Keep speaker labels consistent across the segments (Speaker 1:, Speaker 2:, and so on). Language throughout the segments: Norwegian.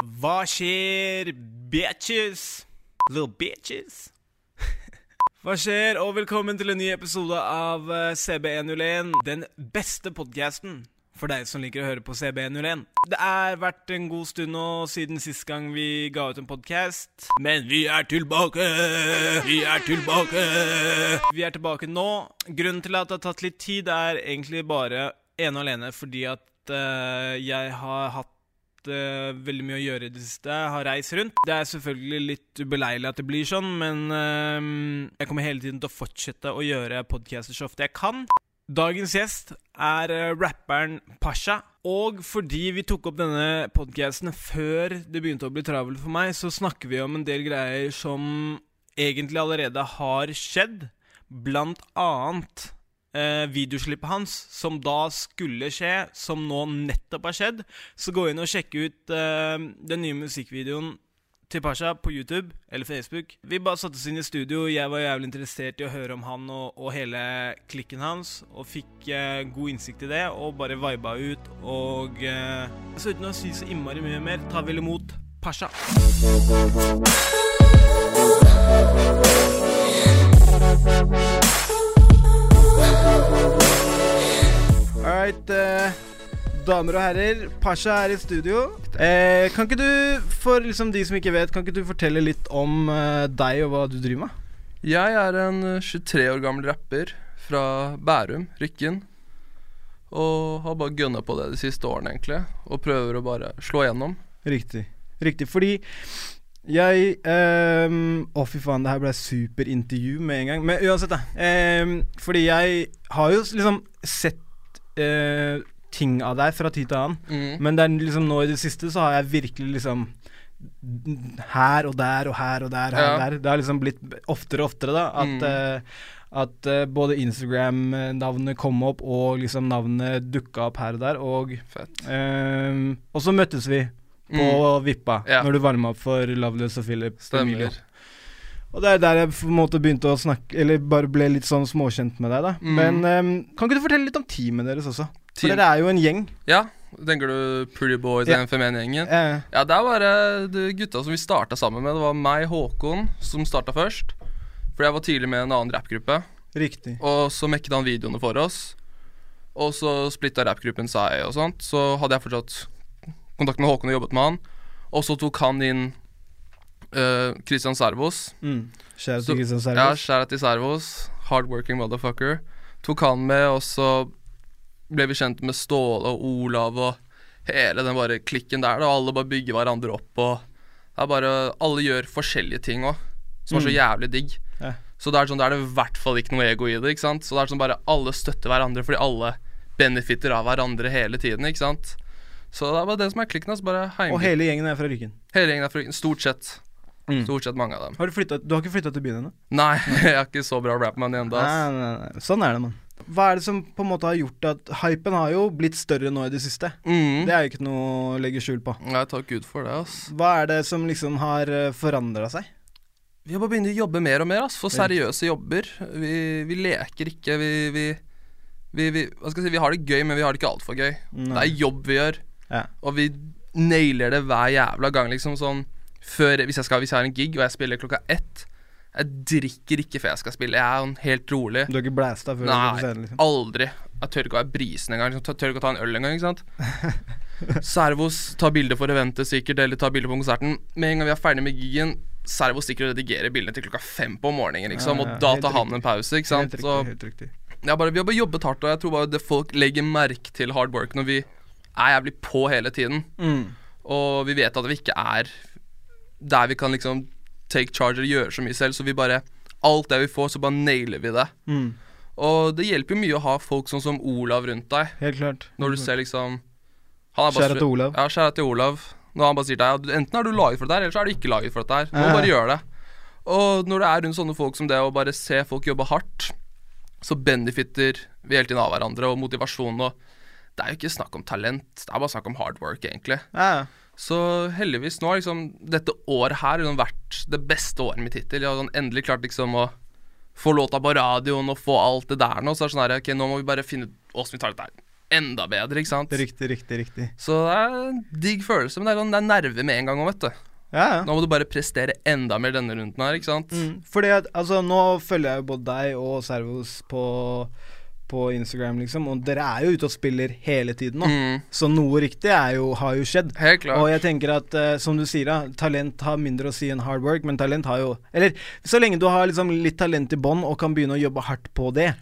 Speaker 1: Hva skjer, bitches? Little bitches? Hva skjer, og velkommen til en ny episode av eh, CB101. Den beste podcasten for deg som liker å høre på CB101. Det er vært en god stund nå siden sist gang vi ga ut en podcast. Men vi er tilbake! Vi er tilbake! Vi er tilbake nå. Grunnen til at det har tatt litt tid, er egentlig bare ene og alene fordi at eh, jeg har hatt eh, veldig mye å gjøre i det siste. Jeg Har reist rundt. Det er selvfølgelig litt ubeleilig at det blir sånn, men eh, jeg kommer hele tiden til å fortsette å gjøre podcaster så ofte jeg kan. Dagens gjest er eh, rapperen Pasha. Og fordi vi tok opp denne podcasten før det begynte å bli travelt for meg, så snakker vi om en del greier som egentlig allerede har skjedd. Blant annet eh, videoslippet hans, som da skulle skje, som nå nettopp har skjedd. Så gå inn og sjekk ut eh, den nye musikkvideoen til Pasha på YouTube eller Facebook. Vi bare satte oss inn i studio, jeg var jævlig interessert i å høre om han og, og hele klikken hans, og fikk eh, god innsikt i det, og bare viba ut, og eh, Så uten å si så innmari mye mer, ta vel imot Pasha. All right, eh, damer og herrer, Pasha er i studio. Eh, kan ikke du, for liksom de som ikke vet, kan ikke du fortelle litt om eh, deg og hva du driver med?
Speaker 2: Jeg er en eh, 23 år gammel rapper fra Bærum, Rykken. Og har bare gønna på det de siste årene, egentlig. Og prøver å bare slå gjennom.
Speaker 1: Riktig. Riktig, fordi jeg ehm, Å, fy faen, det her ble superintervju med en gang. Men uansett, da. ehm, fordi jeg har jo s- liksom sett eh, ting av deg fra tid til annen.
Speaker 2: Mm.
Speaker 1: Men det er liksom nå i det siste så har jeg virkelig liksom Her og der og her og der. Her og
Speaker 2: Ja.
Speaker 1: der. Det har liksom blitt oftere og oftere, da. At,
Speaker 2: Mm.
Speaker 1: eh, at eh, både Instagram-navnet kom opp, og liksom navnet dukka opp her og der. Og,
Speaker 2: Fett.
Speaker 1: ehm, og så møttes vi på
Speaker 2: Mm.
Speaker 1: Vippa
Speaker 2: Ja.
Speaker 1: når du varma opp for Loveless og Philip. Emilio.
Speaker 2: Mm. Stemmer.
Speaker 1: Og det er der jeg på en måte begynte å snakke Eller bare ble litt sånn småkjent med deg, da.
Speaker 2: Mm.
Speaker 1: Men ehm, kan ikke du fortelle litt om teamet deres også? For
Speaker 2: Team.
Speaker 1: dere er jo en gjeng.
Speaker 2: Ja, tenker du Pretty Boys
Speaker 1: Ja.
Speaker 2: og NFMN-gjengen?
Speaker 1: Eh,
Speaker 2: Ja, det er bare de gutta som vi starta sammen med. Det var meg, Håkon, som starta først. For jeg var tidlig med en annen rappgruppe.
Speaker 1: riktig.
Speaker 2: Og så mekket han videoene for oss. Og så splitta rappgruppen seg og sånt. Så hadde jeg fortsatt kontakt med Håkon og jobbet med han. Og så tok han inn eh, Christian Servos.
Speaker 1: Mm. Shout
Speaker 2: Så-
Speaker 1: til Kristian
Speaker 2: Ja,
Speaker 1: Servus.
Speaker 2: skjæra til Servos. Hardworking motherfucker. Tok han med, og så ble vi kjent med Ståle og Olav og hele den bare klikken der. Da. Alle bare bygger hverandre opp og det er bare Alle gjør forskjellige ting òg, som er så jævlig digg.
Speaker 1: Mm. Ja.
Speaker 2: Så det er sånn, da er det i hvert fall ikke noe ego i det. ikke sant? Så det er sånn bare alle støtter hverandre fordi alle benefitter av hverandre hele tiden, ikke sant. Så det er bare det som er klikken. Altså bare
Speaker 1: Og
Speaker 2: heimgruppe.
Speaker 1: hele gjengen er fra Rykken.
Speaker 2: Hele gjengen er fra Stort sett.
Speaker 1: Mm.
Speaker 2: Stort sett mange av dem.
Speaker 1: Har du, flyttet, du har ikke flytta til byen ennå?
Speaker 2: Nei, jeg er ikke så bra rapman ennå,
Speaker 1: Nei,
Speaker 2: ass.
Speaker 1: nei, nei. Sånn er det, mann. Hva er det som på en måte har gjort at Hypen har jo blitt større nå i det siste.
Speaker 2: Mm.
Speaker 1: Det er jo ikke noe å legge skjul på.
Speaker 2: Jeg tar Gud for det, ass.
Speaker 1: Hva er det som liksom har forandra seg?
Speaker 2: Vi har bare begynt å jobbe mer og mer, ass. Få
Speaker 1: Ja.
Speaker 2: seriøse jobber. Vi, vi leker ikke, vi, vi, vi, vi Hva skal jeg si, vi har det gøy, men vi har det ikke altfor gøy. Det
Speaker 1: Nei.
Speaker 2: er jobb vi gjør,
Speaker 1: Ja.
Speaker 2: og vi nailer det hver jævla gang, liksom. Sånn før Hvis jeg, skal, hvis jeg har en gig, og jeg spiller klokka ett Jeg drikker ikke før jeg skal spille. Jeg er sånn helt rolig.
Speaker 1: Du har ikke blæsta før? du
Speaker 2: Nei.
Speaker 1: går på scenen, liksom.
Speaker 2: Aldri. Jeg tør ikke å være brisen engang. Liksom. Tør- Tør ikke å ta en øl engang, ikke sant. Servos tar bilde for eventet sikkert, eller tar bilde på konserten. Med en gang vi er ferdig med gigen, Servos stikker og redigerer bildene til klokka fem på morgenen, liksom.
Speaker 1: Ja, ja,
Speaker 2: Og da
Speaker 1: helt
Speaker 2: tar han
Speaker 1: riktig.
Speaker 2: en pause, ikke
Speaker 1: Helt
Speaker 2: sant.
Speaker 1: riktig,
Speaker 2: Så
Speaker 1: helt riktig.
Speaker 2: ja, bare, vi har bare jobbet hardt, og jeg tror bare det folk legger merke til hard work når vi er jævlig på hele tiden.
Speaker 1: Mm.
Speaker 2: Og vi vet at vi ikke er der vi kan liksom take charge og gjøre så mye selv, så vi bare Alt det vi får, så bare nailer vi det.
Speaker 1: Mm.
Speaker 2: Og det hjelper jo mye å ha folk sånn som Olav rundt deg.
Speaker 1: Helt klart. Mm.
Speaker 2: Når du ser liksom han er bare
Speaker 1: Mhm. Kjære til Olav.
Speaker 2: Ja, kjære til Olav. Når han bare sier til deg at enten er du laget for dette, her, eller så er du ikke laget for dette. her. Du må
Speaker 1: Ja.
Speaker 2: bare gjøre det. Og når det er rundt sånne folk som det, og bare se folk jobbe hardt, så benefitter vi hele tiden av hverandre, og motivasjon og Det er jo ikke snakk om talent, det er bare snakk om hard work, egentlig.
Speaker 1: Ja, ja.
Speaker 2: Så heldigvis nå har liksom dette året her liksom vært det beste året mitt hittil. Jeg har sånn endelig klart liksom å få låta på radioen og få alt det der nå. Så er det sånn her, ok, nå må vi bare finne ut åssen vi tar dette her enda bedre, ikke sant.
Speaker 1: Riktig, riktig, riktig.
Speaker 2: Så det er en digg følelse, men det er, sånn, det er nerve med en gang òg, vet du.
Speaker 1: Ja, ja.
Speaker 2: Nå må du bare prestere enda mer denne runden her, ikke sant.
Speaker 1: Mm, Fordi at, altså, nå følger jeg jo både deg og Servos på, på Instagram, liksom, og dere er jo ute og spiller hele tiden nå.
Speaker 2: Mm.
Speaker 1: Så noe riktig er jo, har jo skjedd.
Speaker 2: Helt klart.
Speaker 1: Og jeg tenker at, eh, som du sier, da, talent har mindre å si enn hard work, men talent har jo Eller så lenge du har liksom litt talent i bånn og kan begynne å jobbe hardt på det.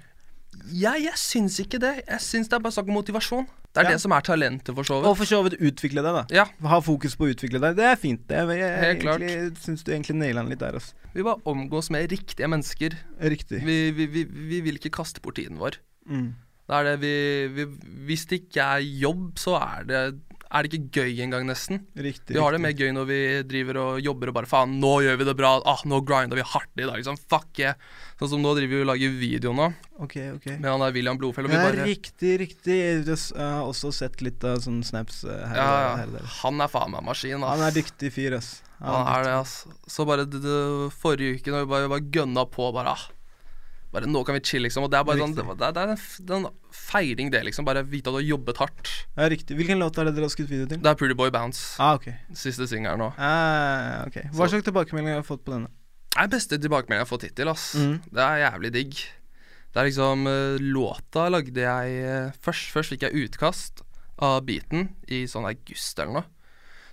Speaker 2: Ja, jeg syns ikke det. Jeg syns det er bare snakk om motivasjon. Det
Speaker 1: Ja.
Speaker 2: er det som er talentet, for så
Speaker 1: Og
Speaker 2: vidt.
Speaker 1: for så vidt utvikle deg, da.
Speaker 2: Ja,
Speaker 1: Ha fokus på å utvikle deg. Det er fint. Det er, jeg
Speaker 2: Helt klart.
Speaker 1: jeg syns du egentlig naila den litt der, altså.
Speaker 2: vi bare omgås med riktige mennesker.
Speaker 1: Riktig.
Speaker 2: Vi, vi, vi, vi vil ikke kaste bort tiden vår.
Speaker 1: Mm.
Speaker 2: Det er det vi, vi Hvis det ikke er jobb, så er det, er det ikke gøy engang, nesten.
Speaker 1: Riktig.
Speaker 2: Vi har det
Speaker 1: riktig.
Speaker 2: mer gøy når vi driver og jobber og bare faen, nå gjør vi det bra, ah, nå grinder vi hardt i dag, liksom, fuck yeah. Sånn som nå driver vi og lager video nå,
Speaker 1: Ok, ok.
Speaker 2: med han der William Blodfeld, og vi
Speaker 1: Ja,
Speaker 2: bare
Speaker 1: riktig, riktig. Jeg har også sett litt av sånne snaps eh, her,
Speaker 2: ja,
Speaker 1: og der, her og
Speaker 2: ja,
Speaker 1: der.
Speaker 2: han er faen meg maskin, ass.
Speaker 1: Han er dyktig fyr, ass.
Speaker 2: Han er det, altså. Så bare det, det, forrige uke, når vi bare, bare gønna på, bare ah, Bare nå kan vi chille, liksom. Og det er bare sånn, det,
Speaker 1: Riktig.
Speaker 2: det er- det er en, f- det er en feiring, det, liksom. Bare vite at du har jobbet hardt.
Speaker 1: Ja, riktig. Hvilken låt er det dere har skutt video til?
Speaker 2: Det er Pretty Boy Bounce,
Speaker 1: Ah, ok.
Speaker 2: siste singel nå.
Speaker 1: Ah, ok. Hva slags tilbakemeldinger har du fått på denne?
Speaker 2: Det er beste tilbakemelding jeg har fått hittil, ass.
Speaker 1: Mm.
Speaker 2: Det er jævlig digg. Det er liksom eh, Låta lagde jeg eh, Først, først fikk jeg utkast av beaten i sånn august eller noe.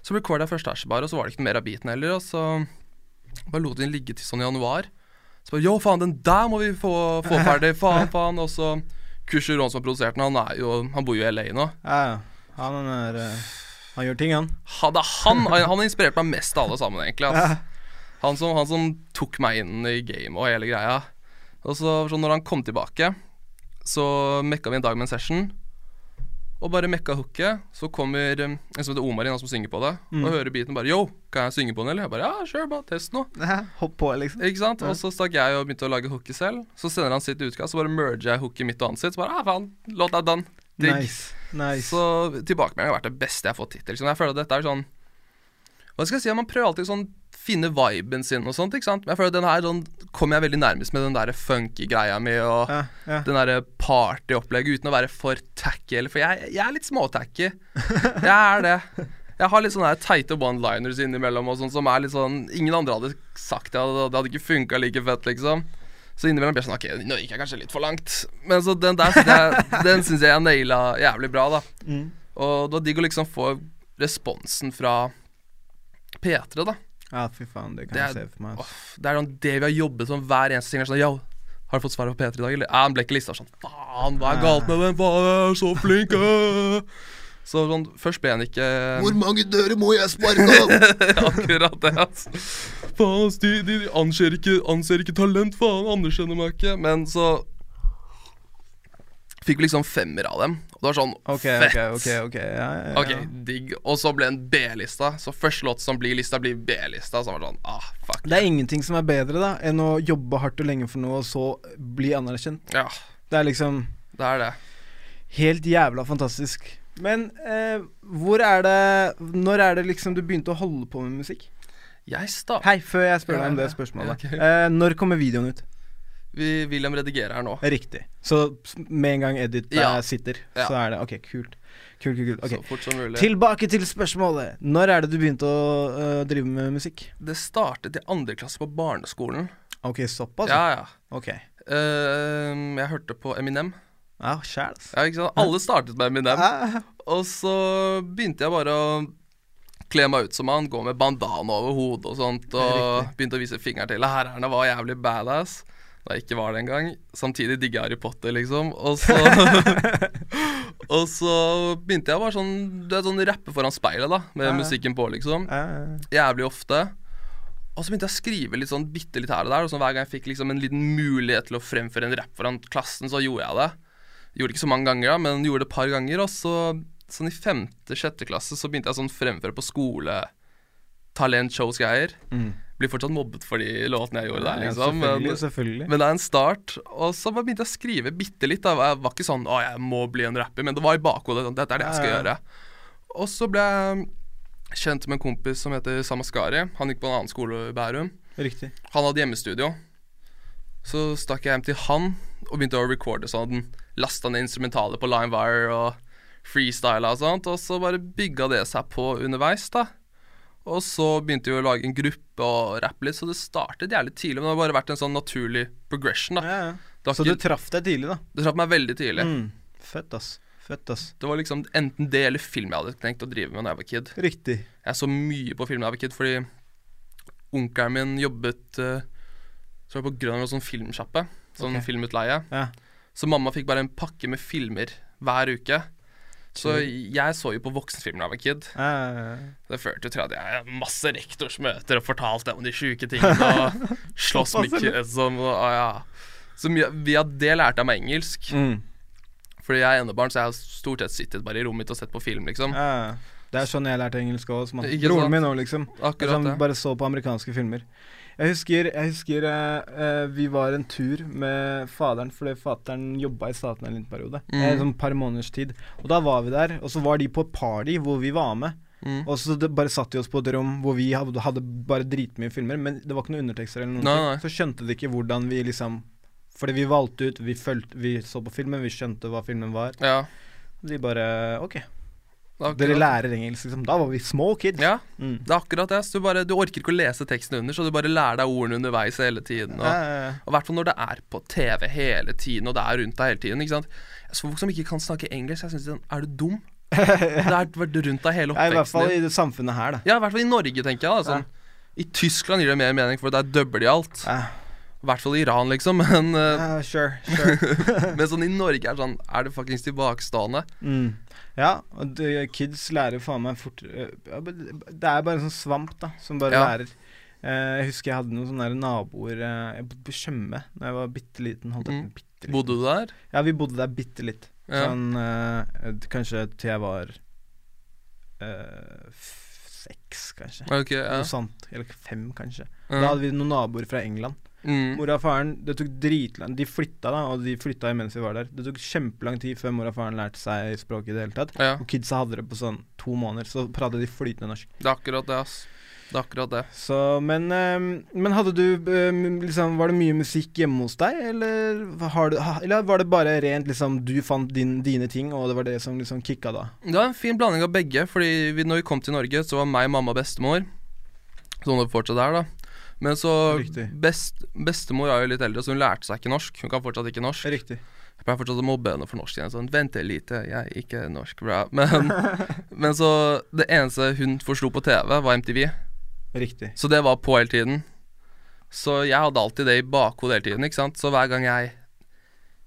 Speaker 2: Så recorda jeg første hasjbar, og så var det ikke noe mer av beaten heller. Og så bare lot den ligge til sånn i januar. Så bare Yo, faen, den der må vi få, få ferdig! Faen, faen! Og så Kush Ron som har produsert den, han, er jo, han bor jo i LA nå.
Speaker 1: Ja, ja. Han er eh, Han gjør ting, han.
Speaker 2: Hadde han, han har inspirert meg mest av alle sammen, egentlig. ass. Han, som, han som tok meg inn i gamet og hele greia. Og så, så når han kom tilbake, så mekka vi en dag med en session. Og bare mekka hooket. Så kommer um, en som heter Omar inn, han som synger på det, og hører beaten bare Yo, kan jeg synge på den, eller? Jeg bare Ja, sure, bare test nå.
Speaker 1: Hopp på, liksom.
Speaker 2: Ikke sant? Og så stakk jeg og begynte å lage hooket selv. Så sender han sitt utkast, så bare merger jeg hooket mitt og hans sitt. Så bare ah, faen, låta er done. Digg.
Speaker 1: Nice. nice.
Speaker 2: Så tilbakemeldingen har vært det beste jeg har fått hittil. Liksom. Jeg føler at dette er sånn Hva skal jeg si, Man prøver alltid sånn finne viben sin og sånt, ikke sant. Men jeg føler at den her sånn, kom jeg veldig nærmest med den der funky greia mi og
Speaker 1: Ja, ja.
Speaker 2: den derre partyopplegget uten å være for tacky. Eller, for jeg, jeg er litt småtacky. Jeg er det. Jeg har litt sånne her teite one-liners innimellom og sånn som er litt sånn Ingen andre hadde sagt det, og det hadde ikke funka like fett, liksom. Så innimellom blir jeg sånn OK, nå gikk jeg kanskje litt for langt. Men så den der syns jeg, den synes jeg jeg naila jævlig bra, da.
Speaker 1: Mm.
Speaker 2: Og det var digg å liksom få responsen fra P3, da.
Speaker 1: ja, fy faen, det kan
Speaker 2: Det
Speaker 1: jeg
Speaker 2: er-
Speaker 1: se for meg. ass.
Speaker 2: Åh, det er sånn det vi har jobbet som hver eneste ting. er Sånn, Yo, har du fått svaret på P3 i dag, eller? Ja, han ble ikke lista sånn. Faen, hva er galt med den? Faen, jeg er så flink! øh!» Så sånn, først ble han ikke
Speaker 3: mange dører må jeg sparke av?
Speaker 2: akkurat det, altså. Faen, ass, de, de, de anser, ikke, anser ikke talent, faen, anerkjenner meg ikke. Men så fikk vi liksom femmer av dem. Og det var sånn
Speaker 1: Ok,
Speaker 2: fett.
Speaker 1: ok, ok. ok ja, ja, ja.
Speaker 2: Ok, digg. Og så ble den B-lista. Så første låt som blir lista, blir B-lista. Så var det sånn, ah, fuck.
Speaker 1: Det er ingenting som er bedre da enn å jobbe hardt og lenge for noe, og så bli anerkjent.
Speaker 2: Ja,
Speaker 1: Det er liksom
Speaker 2: det er det.
Speaker 1: Helt jævla fantastisk. Men eh, hvor er det Når er det liksom du begynte å holde på med musikk?
Speaker 2: Jeg sta...
Speaker 1: Hei, før jeg spør
Speaker 2: Ja,
Speaker 1: deg om det
Speaker 2: ja.
Speaker 1: spørsmålet.
Speaker 2: Ja, ok.
Speaker 1: Eh, når kommer videoen ut?
Speaker 2: Vi, William redigerer her nå.
Speaker 1: Riktig. Så s- med en gang edit der
Speaker 2: Ja.
Speaker 1: sitter,
Speaker 2: Ja.
Speaker 1: så er det OK, kult. Kult, kult, kult.
Speaker 2: Så
Speaker 1: Ok.
Speaker 2: fort som mulig.
Speaker 1: Tilbake til spørsmålet. Når er det du begynte å eh, drive med musikk?
Speaker 2: Det startet i andre klasse på barneskolen.
Speaker 1: OK, såpass?
Speaker 2: Ja, ja.
Speaker 1: Ok.
Speaker 2: Ehm, jeg hørte på Eminem.
Speaker 1: Ja, sjæl, altså.
Speaker 2: Ja, ikke sant? Alle startet med Eminem.
Speaker 1: Ah,
Speaker 2: Og så begynte jeg bare å kle meg ut som han, gå med bandana over hodet og sånt, og begynte å vise fingeren til lærerne, var jævlig badass. Da jeg ikke var det engang. Samtidig digger jeg Harry Potter, liksom. Og så Og så begynte jeg bare sånn Du vet, sånn rappe foran speilet, da, med musikken på, liksom.
Speaker 1: ah.
Speaker 2: Jævlig ofte. Og så begynte jeg å skrive litt sånn bitte litt her og der, og så hver gang jeg fikk liksom en liten mulighet til å fremføre en rapp foran klassen, så gjorde jeg det. Gjorde det ikke så mange ganger, da, men gjorde det et par ganger. Og så sånn i femte-sjette klasse så begynte jeg sånn fremføre på skole, talentshows-greier.
Speaker 1: Mm.
Speaker 2: Blir fortsatt mobbet for de låtene jeg gjorde
Speaker 1: Ja,
Speaker 2: der, liksom.
Speaker 1: selvfølgelig.
Speaker 2: Men,
Speaker 1: selvfølgelig.
Speaker 2: men det er en start. Og så bare begynte jeg å skrive bitte litt. Da. Jeg var ikke sånn 'Å, jeg må bli en rapper', men det var i bakhodet. sånn, Dette er det jeg skal
Speaker 1: Ja, ja.
Speaker 2: gjøre. Og så ble jeg kjent med en kompis som heter Samaskari. Han gikk på en annen skole i Bærum.
Speaker 1: Riktig.
Speaker 2: Han hadde hjemmestudio. Så stakk jeg hjem til han og begynte å recorde sånn. Lasta ned instrumentalet på Limewire og freestyla og sånt, og så bare bygga det seg på underveis, da. Og så begynte vi å lage en gruppe og rappe litt, så det startet jævlig tidlig. Men det har bare vært en sånn naturlig progression, da.
Speaker 1: Ja, ja.
Speaker 2: Det,
Speaker 1: Så
Speaker 2: har
Speaker 1: du
Speaker 2: ikke,
Speaker 1: traff deg tidlig, da.
Speaker 2: det traff meg veldig tidlig.
Speaker 1: Mm. Fett, ass. Fett, ass.
Speaker 2: Det var liksom enten det eller film jeg hadde tenkt å drive med da jeg var kid.
Speaker 1: Riktig.
Speaker 2: Jeg så mye på film da jeg var kid, fordi onkelen min jobbet uh, så var jeg på Grønland og sånn filmsjappe. Sånn
Speaker 1: Ok.
Speaker 2: filmutleie.
Speaker 1: Ja.
Speaker 2: Så mamma fikk bare en pakke med filmer hver uke. Så jeg så jo på voksenfilmer da jeg var kid.
Speaker 1: Eh,
Speaker 2: Det førte jo til at jeg hadde masse rektorsmøter og fortalte om de sjuke tingene. Og slåss med kids og, og ja. Så mye, via det lærte jeg meg engelsk.
Speaker 1: mm.
Speaker 2: Fordi jeg er enebarn, så jeg har stort sett sittet bare i rommet mitt og sett på film, liksom.
Speaker 1: ja. Det er sånn jeg lærte engelsk òg.
Speaker 2: Ikke sant?
Speaker 1: Broren min òg, liksom.
Speaker 2: Akkurat
Speaker 1: Som
Speaker 2: det.
Speaker 1: bare så på amerikanske filmer. Jeg husker, jeg husker eh, eh, vi var en tur med faderen, fordi faderen jobba i staten en liten periode.
Speaker 2: Mm.
Speaker 1: Eh, sånn par måneders tid. Og da var vi der, og så var de på party hvor vi var med.
Speaker 2: Mm.
Speaker 1: Og så det bare satt de oss på et rom hvor vi hadde, hadde bare dritmye filmer, men det var ikke noen undertekster eller noen
Speaker 2: Nei,
Speaker 1: ting.
Speaker 2: nei.
Speaker 1: Så skjønte de ikke hvordan vi liksom Fordi vi valgte ut, vi, fulgte, vi så på filmen, vi skjønte hva filmen var.
Speaker 2: Ja.
Speaker 1: De bare OK,
Speaker 2: akkurat.
Speaker 1: dere lærer engelsk, liksom. Da var vi små kids.
Speaker 2: Ja,
Speaker 1: Mm.
Speaker 2: det er akkurat det. Så du, bare, du orker ikke å lese teksten under, så du bare lærer deg ordene underveis hele tiden. Og
Speaker 1: Eh,
Speaker 2: i hvert fall når det er på TV hele tiden, og det er rundt deg hele tiden. ikke sant? Så folk som ikke kan snakke engelsk, jeg synes, sånn, er du dum? Det har vært rundt deg hele
Speaker 1: ja, I hvert
Speaker 2: oppveksten
Speaker 1: fall
Speaker 2: din.
Speaker 1: i det samfunnet her, da.
Speaker 2: Ja, i hvert fall i Norge, tenker jeg. da sånn. I Tyskland gir det mer mening, for der dubber de alt.
Speaker 1: Ja.
Speaker 2: I hvert fall i Iran, liksom. Men, eh,
Speaker 1: Ja, sure, sure.
Speaker 2: men sånn i Norge er det sånn Er det fuckings tilbakestående?
Speaker 1: Mm. Ja, og det, kids lærer faen meg fort eh, ja, men Det er bare en sånn svamp, da, som bare
Speaker 2: Ja.
Speaker 1: lærer. Eh, jeg husker jeg hadde noen sånne der naboer eh, Jeg bodde på Tjøme da jeg var bitte liten. Holdt jeg
Speaker 2: Mm.
Speaker 1: på bitte liten.
Speaker 2: Bodde du der?
Speaker 1: Ja, vi bodde der bitte litt.
Speaker 2: Ja.
Speaker 1: Sånn eh, kanskje til jeg var eh, f- seks, kanskje.
Speaker 2: Ok, ja.
Speaker 1: Noe sånt. Eller fem, kanskje. Da
Speaker 2: ja.
Speaker 1: hadde vi noen naboer fra England.
Speaker 2: Mm.
Speaker 1: Mora og faren det tok dritlang De flytta, da, og de flytta imens vi var der. Det tok kjempelang tid før mora og faren lærte seg språket i det hele tatt.
Speaker 2: ja.
Speaker 1: Og kidsa hadde det på sånn to måneder, så pratet de flytende norsk.
Speaker 2: Det er akkurat det, ass. Det er akkurat det.
Speaker 1: Så, men, ehm, men hadde du ehm, liksom Var det mye musikk hjemme hos deg, eller, har du, ha- eller var det bare rent liksom du fant din, dine ting, og det var det som liksom kicka da?
Speaker 2: Det var en fin blanding av begge, fordi vi, når vi kom til Norge, så var meg, mamma og bestemor. Sånn det fortsatt er, da. Men så
Speaker 1: Riktig.
Speaker 2: best, Bestemor er jo litt eldre, så hun lærte seg ikke norsk. Hun kan fortsatt ikke norsk.
Speaker 1: Riktig.
Speaker 2: Jeg pleier fortsatt å mobbe henne for norsk igjen. Sånn, vente lite, jeg er ikke norsk, bra. Men, men så Det eneste hun forsto på TV, var MTV.
Speaker 1: Riktig.
Speaker 2: Så det var på hele tiden. Så jeg hadde alltid det i bakhodet hele tiden, ikke sant. Så hver gang jeg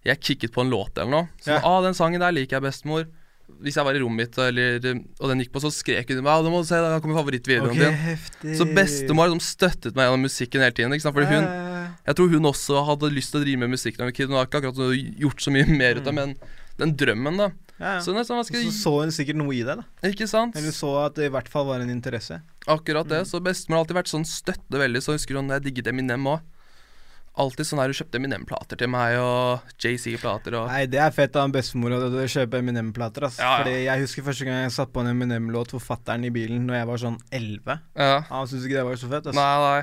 Speaker 2: Jeg kikket på en låt eller noe Så
Speaker 1: Ja.
Speaker 2: ah, den sangen der liker jeg best, mor. Hvis jeg var i rommet mitt eller, og den gikk på, så skrek hun til meg ah, 'Du må se, der kommer favorittvideoen din'.
Speaker 1: heftig.
Speaker 2: Så bestemor liksom støttet meg gjennom musikken hele tiden. ikke sant? Fordi hun,
Speaker 1: Eh,
Speaker 2: Jeg tror hun også hadde lyst til å drive med musikk da hun var kid. Hun har ikke akkurat gjort så mye mer ut av men den drømmen, da.
Speaker 1: Mm. ja, ja.
Speaker 2: Så nesten hva skal
Speaker 1: så
Speaker 2: jeg
Speaker 1: så hun sikkert noe i deg, da.
Speaker 2: Ikke sant?
Speaker 1: Eller så at det i hvert fall var en interesse.
Speaker 2: Akkurat det. Så bestemor har alltid vært sånn støtte veldig. Så husker hun jeg digget Eminem òg. Alltid sånn her hun kjøpte Eminem-plater til meg, og JC-plater og
Speaker 1: Nei, det er fett av en bestemor å å kjøpe Eminem-plater. ass.
Speaker 2: Ja, ja.
Speaker 1: Fordi Jeg husker første gang jeg satte på en Eminem-låt for fatter'n i bilen Når jeg var sånn 11.
Speaker 2: Ja.
Speaker 1: Han syntes ikke det var så fett. ass.
Speaker 2: Nei, nei.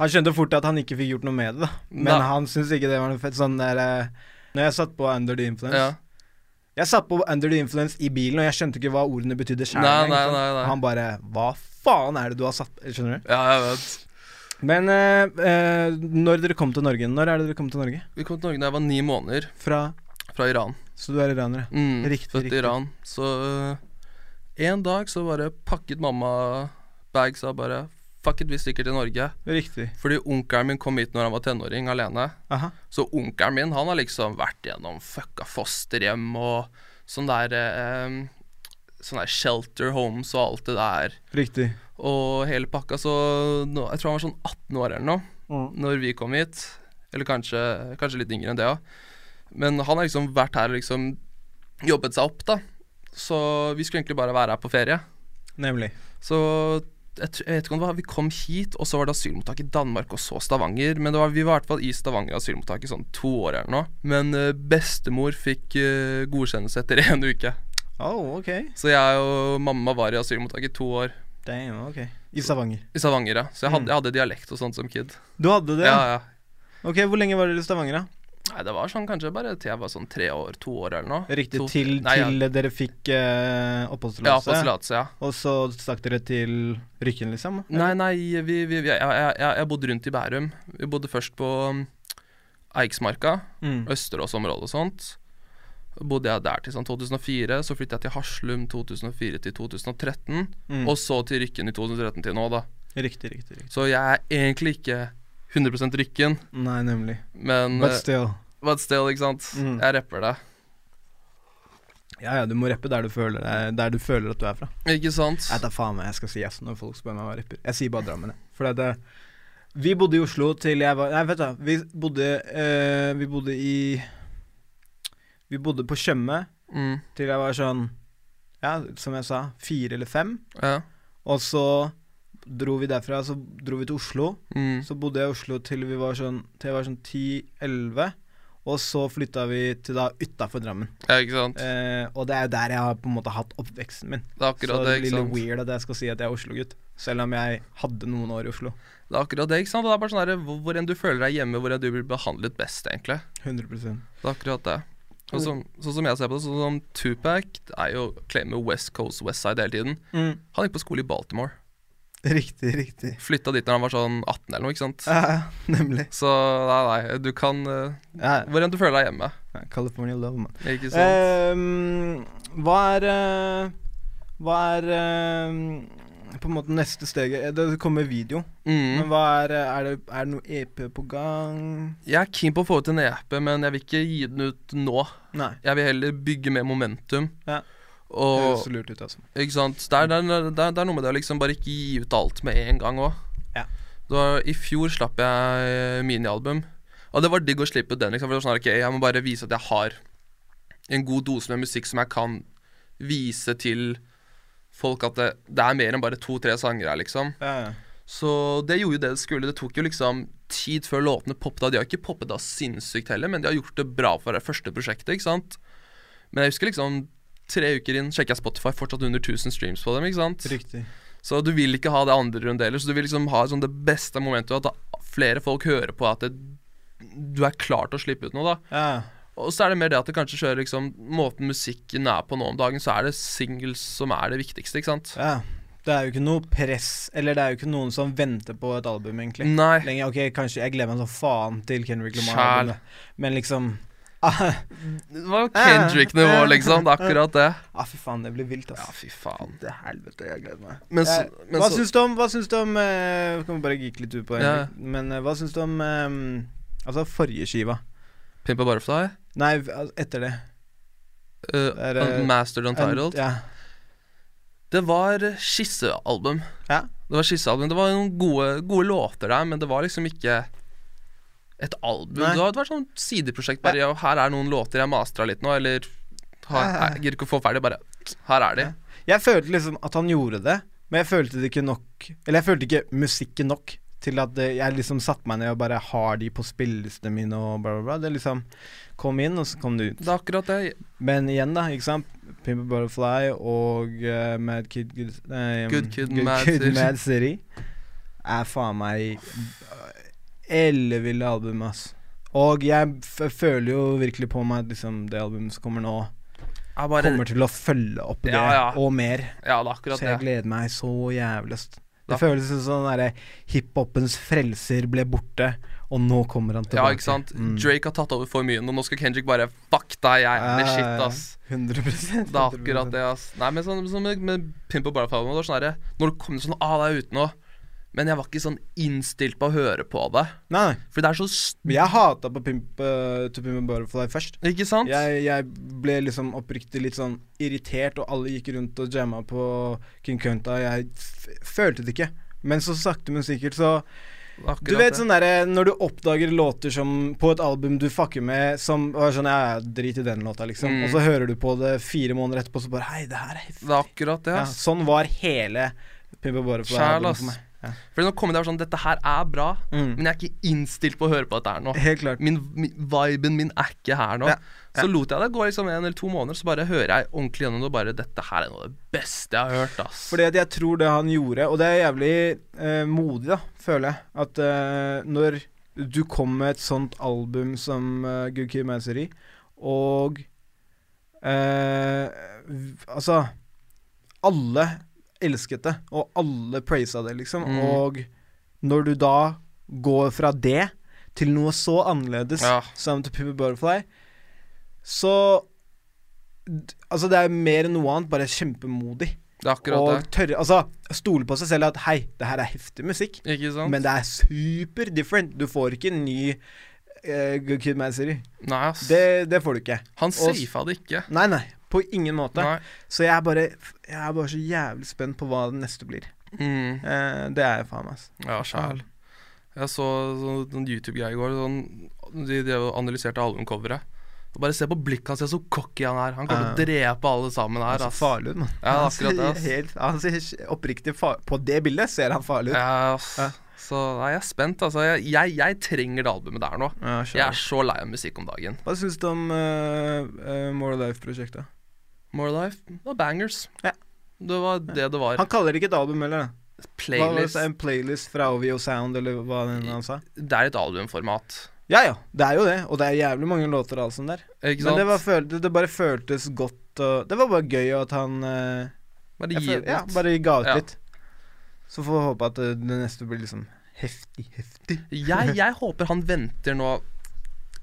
Speaker 1: Han skjønte fort at han ikke fikk gjort noe med det, da. men
Speaker 2: Nei.
Speaker 1: han syntes ikke det var noe fett. Sånn der eh, Når jeg satt på Under the Influence
Speaker 2: Ja.
Speaker 1: Jeg satt på Under the Influence i bilen, og jeg skjønte ikke hva ordene betydde sjæl.
Speaker 2: Nei, nei, nei, nei.
Speaker 1: Han bare Hva faen er det du har satt på? Skjønner du?
Speaker 2: ja, jeg vet.
Speaker 1: Men eh, eh, når dere kom til Norge Når er det dere kom til Norge?
Speaker 2: Vi kom til Norge da jeg var ni måneder,
Speaker 1: Fra
Speaker 2: fra Iran.
Speaker 1: Så du er iranere?
Speaker 2: Mm,
Speaker 1: Riktig,
Speaker 2: Født
Speaker 1: riktig.
Speaker 2: i Iran. Så øh, en dag så bare pakket mamma bags og bare Fuck it, vi stikker til Norge.
Speaker 1: Riktig.
Speaker 2: Fordi onkelen min kom hit når han var tenåring, alene.
Speaker 1: Aha.
Speaker 2: Så onkelen min, han har liksom vært gjennom fucka fosterhjem og sånn der eh, Sånn der shelter homes og alt det der.
Speaker 1: Riktig.
Speaker 2: Og hele pakka, så nå, Jeg tror han var sånn 18 år eller noe
Speaker 1: Mm.
Speaker 2: når vi kom hit. Eller kanskje, kanskje litt yngre enn det òg. Men han har liksom vært her og liksom jobbet seg opp, da. Så vi skulle egentlig bare være her på ferie.
Speaker 1: Nemlig.
Speaker 2: Så jeg, tr- jeg vet ikke om det var Vi kom hit, og så var det asylmottak i Danmark, og så Stavanger. Men det var, vi var i hvert fall i Stavanger asylmottak i sånn to år eller noe. Men eh, bestemor fikk eh, godkjennelse etter en uke.
Speaker 1: Oh, ok.
Speaker 2: Så jeg og mamma var i asylmottak i to år
Speaker 1: Damn, ok. I Stavanger.
Speaker 2: i Stavanger, ja. Så jeg
Speaker 1: Mm.
Speaker 2: hadde, jeg hadde dialekt og sånt som kid.
Speaker 1: Du hadde det?
Speaker 2: Ja,
Speaker 1: ja.
Speaker 2: ja.
Speaker 1: Ok, Hvor lenge var dere i Stavanger, da?
Speaker 2: Nei, det var sånn kanskje bare til jeg var sånn tre år, to år eller noe.
Speaker 1: Riktig
Speaker 2: to,
Speaker 1: til,
Speaker 2: nei, ja.
Speaker 1: til dere fikk eh,
Speaker 2: Ja, på
Speaker 1: oppholdstillatelse?
Speaker 2: tillatelse, ja.
Speaker 1: og så stakk dere til Rykken, liksom?
Speaker 2: Nei, nei, vi, vi, vi, jeg, jeg, jeg, jeg bodde rundt i Bærum. Vi bodde først på um, Eiksmarka,
Speaker 1: Mm.
Speaker 2: Østeråsområdet og sånt. Bodde jeg der til sånn 2004, så flyttet jeg til Haslum 2004 til 2013,
Speaker 1: Mm.
Speaker 2: og så til Rykken i 2013 til nå, da.
Speaker 1: Riktig, riktig. riktig.
Speaker 2: Så jeg er egentlig ikke 100 Rykken,
Speaker 1: Nei, nemlig.
Speaker 2: men
Speaker 1: But
Speaker 2: eh,
Speaker 1: still.
Speaker 2: but still, ikke sant.
Speaker 1: Mm.
Speaker 2: Jeg rapper det.
Speaker 1: Ja ja, du må rappe der du føler, deg- der du føler at du er fra.
Speaker 2: Ikke sant?
Speaker 1: Jeg tar faen meg, jeg skal si yes når folk spør meg hva jeg rapper. Jeg sier bare Drammen, jeg. For det, vi bodde i Oslo til jeg var Nei, vet du, vi bodde, eh, vi bodde i Vi bodde på Tjøme
Speaker 2: Mm,
Speaker 1: til jeg var sånn Ja, som jeg sa, fire eller fem.
Speaker 2: ja.
Speaker 1: Og så dro vi derfra, så dro vi til Oslo.
Speaker 2: Mm.
Speaker 1: Så bodde jeg i Oslo til vi var sånn Til jeg var sånn 10-11. Og så flytta vi til da utafor Drammen.
Speaker 2: ja, ikke sant.
Speaker 1: Eh, og det er jo der jeg har på en måte hatt oppveksten min.
Speaker 2: Det er akkurat
Speaker 1: så
Speaker 2: det,
Speaker 1: det
Speaker 2: ikke
Speaker 1: blir litt
Speaker 2: sant.
Speaker 1: weird at jeg skal si at jeg er Oslo-gutt. Selv om jeg hadde noen år i Oslo.
Speaker 2: Det er akkurat det, ikke sant? Og Det er bare sånn der, hvor, hvor enn du føler deg hjemme, hvor enn du blir behandlet best, egentlig.
Speaker 1: 100
Speaker 2: Det er akkurat det.
Speaker 1: Mm.
Speaker 2: Og som, sånn som jeg ser på det, sånn som Tupac det er jo claimer West Coast, West Side hele tiden.
Speaker 1: Mm.
Speaker 2: Han gikk på skole i Baltimore.
Speaker 1: Riktig, riktig.
Speaker 2: Flytta dit når han var sånn 18 eller noe, ikke sant.
Speaker 1: Ja, ja, nemlig.
Speaker 2: Så nei, nei, du kan eh,
Speaker 1: Ja,
Speaker 2: Hvor enn du føler deg hjemme,
Speaker 1: ja, California love, man.
Speaker 2: ikke sant.
Speaker 1: Ehm, hva er eh, Hva er eh, på en måte neste steget? Eh, Det kommer video. Men
Speaker 2: Mm.
Speaker 1: hva er eh, Er det, er det noe EP på gang?
Speaker 2: Jeg er keen på å få ut en EP, men jeg vil ikke gi den ut nå.
Speaker 1: Nei.
Speaker 2: Jeg vil heller bygge mer momentum.
Speaker 1: Ja. Det
Speaker 2: Og
Speaker 1: høres lurt ut, altså.
Speaker 2: Ikke sant. Det er, det, er, det, er, det er noe med det å liksom bare ikke gi ut alt med en gang òg.
Speaker 1: Ja.
Speaker 2: I fjor slapp jeg eh, minialbum, og det var digg å slippe ut den. Liksom, for det var sånn, her, ok, Jeg må bare vise at jeg har en god dose med musikk som jeg kan vise til folk at det, det er mer enn bare to-tre sanger her, liksom.
Speaker 1: Ja, ja.
Speaker 2: Så det gjorde jo det det skulle. Det tok jo liksom tid før låtene poppet av. De har ikke poppet av sinnssykt heller, men de har gjort det bra for det første prosjektet, ikke sant. Men jeg husker liksom tre uker inn sjekka jeg Spotify, fortsatt under 1000 streams på dem, ikke sant.
Speaker 1: Riktig.
Speaker 2: Så du vil ikke ha det andre rundt heller, så du vil liksom ha sånn det beste momentet, at flere folk hører på at det, du er klar til å slippe ut noe, da.
Speaker 1: Ja, ja.
Speaker 2: Og så er det mer det at det kanskje kjører liksom Måten musikken er på nå om dagen, så er det singles som er det viktigste, ikke sant.
Speaker 1: ja. Det er jo ikke noe press, eller det er jo ikke noen som venter på et album, egentlig.
Speaker 2: Nei.
Speaker 1: Lenge, ok, kanskje Jeg gleder meg som faen til Kendrick
Speaker 2: Sjæl.
Speaker 1: Lamar-albumet, men liksom ah,
Speaker 2: Det var jo Kendrick-nivå, liksom. Det er akkurat det.
Speaker 1: ah, fy faen, det blir vilt,
Speaker 2: Ja,
Speaker 1: ass.
Speaker 2: fy faen.
Speaker 1: Til helvete, jeg gleder meg.
Speaker 2: Men så,
Speaker 1: Eh,
Speaker 2: men
Speaker 1: hva,
Speaker 2: så
Speaker 1: syns du om, hva syns du om eh, Kan vi bare geeke litt ut på det,
Speaker 2: Ja.
Speaker 1: men eh, hva syns du om eh, Altså forrige skiva?
Speaker 2: Pimpa Butterfly,
Speaker 1: Nei, v- al- etter det.
Speaker 2: uh,
Speaker 1: Det er, eh,
Speaker 2: Mastered Untitled
Speaker 1: Ja.
Speaker 2: Det var skissealbum.
Speaker 1: Ja.
Speaker 2: Det var skissealbum Det var noen gode, gode låter der, men det var liksom ikke et album.
Speaker 1: Nei.
Speaker 2: Det var, det var sånn sideprosjekt. Bare, ja, her er noen låter jeg mastra litt nå, eller har,
Speaker 1: Ja.
Speaker 2: jeg gidder ikke å få ferdig, bare Her er de.
Speaker 1: Ja. Jeg følte liksom at han gjorde det, men jeg følte det ikke nok Eller jeg følte ikke musikken nok til at eh, jeg liksom satte meg ned og bare har de på spillelistene mine og bla, bla, bla. Det liksom kom inn, og så kom det ut.
Speaker 2: Det er akkurat det.
Speaker 1: Men igjen, da, ikke sant. Pimper Butterfly og eh, Mad Kid Good, nei, um,
Speaker 2: Good Kid, Mad City.
Speaker 1: Mad City er faen meg elleville album, ass. Og jeg f føler jo virkelig på meg at liksom det albumet som kommer nå,
Speaker 2: Er bare,
Speaker 1: kommer til å følge opp det,
Speaker 2: Ja, ja.
Speaker 1: og mer.
Speaker 2: ja, det er akkurat
Speaker 1: Så jeg
Speaker 2: det.
Speaker 1: gleder meg så jævlig. ass.
Speaker 2: Da-
Speaker 1: Det føles som sånn derre hiphopens frelser ble borte, og nå kommer han
Speaker 2: Ja,
Speaker 1: tilbake.
Speaker 2: ikke sant.
Speaker 1: Mm.
Speaker 2: Drake har tatt over for mye, og nå skal Kendrick bare Fuck deg, jeg er
Speaker 1: Ja,
Speaker 2: the
Speaker 1: ja,
Speaker 2: shit,
Speaker 1: ja.
Speaker 2: ass.
Speaker 1: 100
Speaker 2: Det er akkurat det, ass. Nei, men sånn, sånn med, med Pimp og Butterfly det var sånn herre Når det kom sånn Ah, det er ute nå. Men jeg var ikke sånn innstilt på å høre på det.
Speaker 1: Nei, nei.
Speaker 2: For det er så s-
Speaker 1: Men Jeg hata på Pimp uh, To Pimp a Butterfly først.
Speaker 2: Ikke sant?
Speaker 1: Jeg, jeg ble liksom oppriktig litt sånn irritert, og alle gikk rundt og jamma på King Kunta. Jeg f følte det ikke. Men så sakte, men sikkert, så
Speaker 2: Det er akkurat
Speaker 1: Du vet
Speaker 2: det.
Speaker 1: sånn derre når du oppdager låter som på et album du fucker med, som var sånn Ja, ja, drit i den låta, liksom.
Speaker 2: Mm.
Speaker 1: Og så hører du på det fire måneder etterpå, så bare Hei, det her er heftig.
Speaker 2: Det er akkurat det,
Speaker 1: Ja,
Speaker 2: ass.
Speaker 1: sånn var hele Pimp a
Speaker 2: Sjæl,
Speaker 1: Butterfly-albumet
Speaker 2: ass.
Speaker 1: for meg. Ja.
Speaker 2: For nå kommer det sånn Dette her er bra,
Speaker 1: Mm.
Speaker 2: men jeg er ikke innstilt på å høre på dette her nå.
Speaker 1: Helt klart.
Speaker 2: Min, min, viben min er ikke her nå.
Speaker 1: Ja,
Speaker 2: Så lot jeg det gå liksom en eller to måneder, så bare hører jeg ordentlig gjennom det, og bare Dette her er noe av det beste jeg har hørt, ass.
Speaker 1: Fordi at jeg tror det han gjorde, og det er jævlig eh, modig, da, føler jeg, at eh, når du kom med et sånt album som uh, Good Kid Mad City, og eh, v- Altså Alle elsket det, og alle praisa det, liksom.
Speaker 2: Mm.
Speaker 1: Og når du da går fra det til noe så annerledes
Speaker 2: Ja.
Speaker 1: som To Pippi Butterfly, så d- Altså, det er mer enn noe annet, bare kjempemodig.
Speaker 2: Det er akkurat
Speaker 1: Og
Speaker 2: det.
Speaker 1: tørre Altså, stole på seg selv at hei, det her er heftig musikk,
Speaker 2: Ikke sant?
Speaker 1: men det er super different. Du får ikke en ny eh, Good Kid Man City.
Speaker 2: Nei, ass.
Speaker 1: Det, det får du ikke.
Speaker 2: Han safa det ikke.
Speaker 1: Nei, nei. På ingen måte.
Speaker 2: Nei.
Speaker 1: Så jeg er bare Jeg er bare så jævlig spent på hva den neste blir.
Speaker 2: Mm.
Speaker 1: Eh, det er jeg faen meg, altså.
Speaker 2: Ja, sjæl. Jeg så sånn noen YouTube-greier i går. Sånn, de, de analyserte albumcoveret. Og Bare se på blikket hans, se så cocky han er. Han kommer til å drepe alle sammen
Speaker 1: Han
Speaker 2: her.
Speaker 1: ser
Speaker 2: ass.
Speaker 1: farlig ut, mann.
Speaker 2: Ja,
Speaker 1: Han ser
Speaker 2: akkurat det, ass.
Speaker 1: helt- Han ser ikke- oppriktig farlig På det bildet ser han farlig ut.
Speaker 2: Ja, ass.
Speaker 1: Ja.
Speaker 2: Så nei, jeg er spent, altså. Jeg, jeg, jeg trenger det albumet der nå.
Speaker 1: Ja, skjønner.
Speaker 2: Jeg er så lei av musikk om dagen.
Speaker 1: Hva syns du om eh, eh, More Life-prosjektet?
Speaker 2: More Life det var bangers.
Speaker 1: Ja.
Speaker 2: Det var det det var.
Speaker 1: Han kaller det ikke et album heller. da. Hva var det,
Speaker 2: Playlist.
Speaker 1: sa- en playlist fra OVO Sound, eller hva den han sa?
Speaker 2: Det er et albumformat.
Speaker 1: Ja ja, det er jo det, og det er jævlig mange låter og alt sånt der.
Speaker 2: Ikke
Speaker 1: Men
Speaker 2: sant?
Speaker 1: det, var føl det, det bare føltes godt og Det var bare gøy at han eh,
Speaker 2: Bare
Speaker 1: jeg
Speaker 2: gi
Speaker 1: føl-
Speaker 2: det
Speaker 1: ja,
Speaker 2: ut.
Speaker 1: bare ga ut
Speaker 2: Ja.
Speaker 1: litt. Så får vi håpe at eh, det neste blir liksom heftig, heftig.
Speaker 2: Jeg, jeg håper han venter nå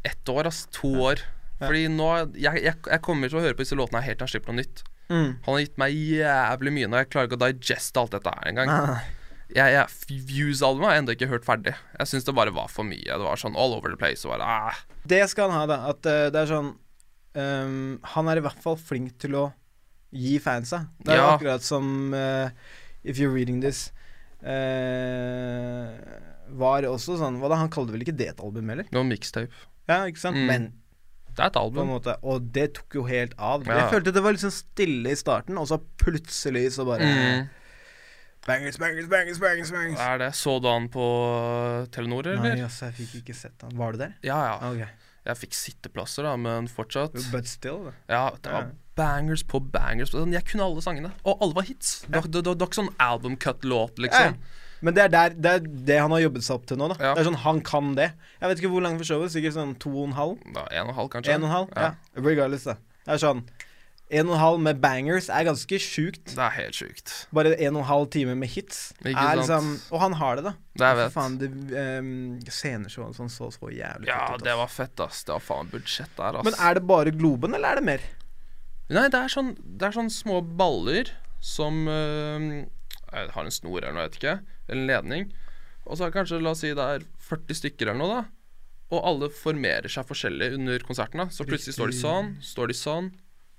Speaker 2: ett år, ass. To år.
Speaker 1: Ja.
Speaker 2: Fordi nå jeg, jeg, jeg kommer til å høre på disse låtene her helt til han slipper noe nytt.
Speaker 1: Mm.
Speaker 2: Han har gitt meg jævlig mye nå. Jeg klarer ikke å digeste alt dette her engang.
Speaker 1: Nei,
Speaker 2: Jeg, jeg, Views-albumet har jeg ennå ikke hørt ferdig. Jeg syns det bare var for mye. Det var sånn all over the place. Og bare, ah.
Speaker 1: Det skal han ha, da. At eh, det er sånn ehm, Han er i hvert fall flink til å gi fansa. Det er jo
Speaker 2: Ja.
Speaker 1: akkurat som eh, If You're Reading This eh, var også sånn hva da, Han kalte vel ikke det et album heller?
Speaker 2: Noe mixtape.
Speaker 1: Ja, ikke sant?
Speaker 2: Mm.
Speaker 1: Men
Speaker 2: Det er et
Speaker 1: på en
Speaker 2: album.
Speaker 1: måte Og det tok jo helt av.
Speaker 2: Ja.
Speaker 1: Jeg følte det var liksom stille i starten, og så plutselig så bare
Speaker 2: Mm.
Speaker 1: Bangers, bangers, bangers, bangers. bangers.
Speaker 2: Er det. Så du han på Telenor,
Speaker 1: Nei,
Speaker 2: eller?
Speaker 1: altså, jeg fikk ikke sett han. Var du der?
Speaker 2: Ja, ja.
Speaker 1: Ok.
Speaker 2: Jeg fikk sitteplasser, da, men fortsatt
Speaker 1: But still, da.
Speaker 2: Ja, det var
Speaker 1: Ja.
Speaker 2: bangers på bangers. på- Jeg kunne alle sangene, og alle var hits. Det var, det, det var ikke sånn album cut-låt,
Speaker 1: Ja.
Speaker 2: liksom.
Speaker 1: Men det er, der, det er det han har jobbet seg opp til nå. da
Speaker 2: Ja.
Speaker 1: Det er sånn, Han kan det. Jeg vet ikke hvor langt for showet. Sikkert sånn to og en halv?
Speaker 2: Det var en og en halv, kanskje.
Speaker 1: En og en halv?
Speaker 2: Ja.
Speaker 1: Ja. Regardless, da. Det er sånn En og en halv med bangers er ganske sjukt.
Speaker 2: Det er helt sjukt.
Speaker 1: Bare en og en halv time med hits.
Speaker 2: Ikke
Speaker 1: er
Speaker 2: sant.
Speaker 1: liksom Og han har det, da.
Speaker 2: Det jeg
Speaker 1: Fy
Speaker 2: vet.
Speaker 1: faen, det um, sceneshowet sånn så så jævlig
Speaker 2: ja,
Speaker 1: fett ut. ass.
Speaker 2: det var fett, ass. Det var faen budsjett der, ass.
Speaker 1: Men er det bare Globen, eller er det mer?
Speaker 2: Nei, det er sånn, det er sånn små baller som øh, jeg har en snor eller noe, jeg vet ikke. Eller en ledning. Og så er det kanskje, la oss si det er 40 stykker eller noe, da. Og alle formerer seg forskjellig under konserten. da Så plutselig står de sånn, står de sånn,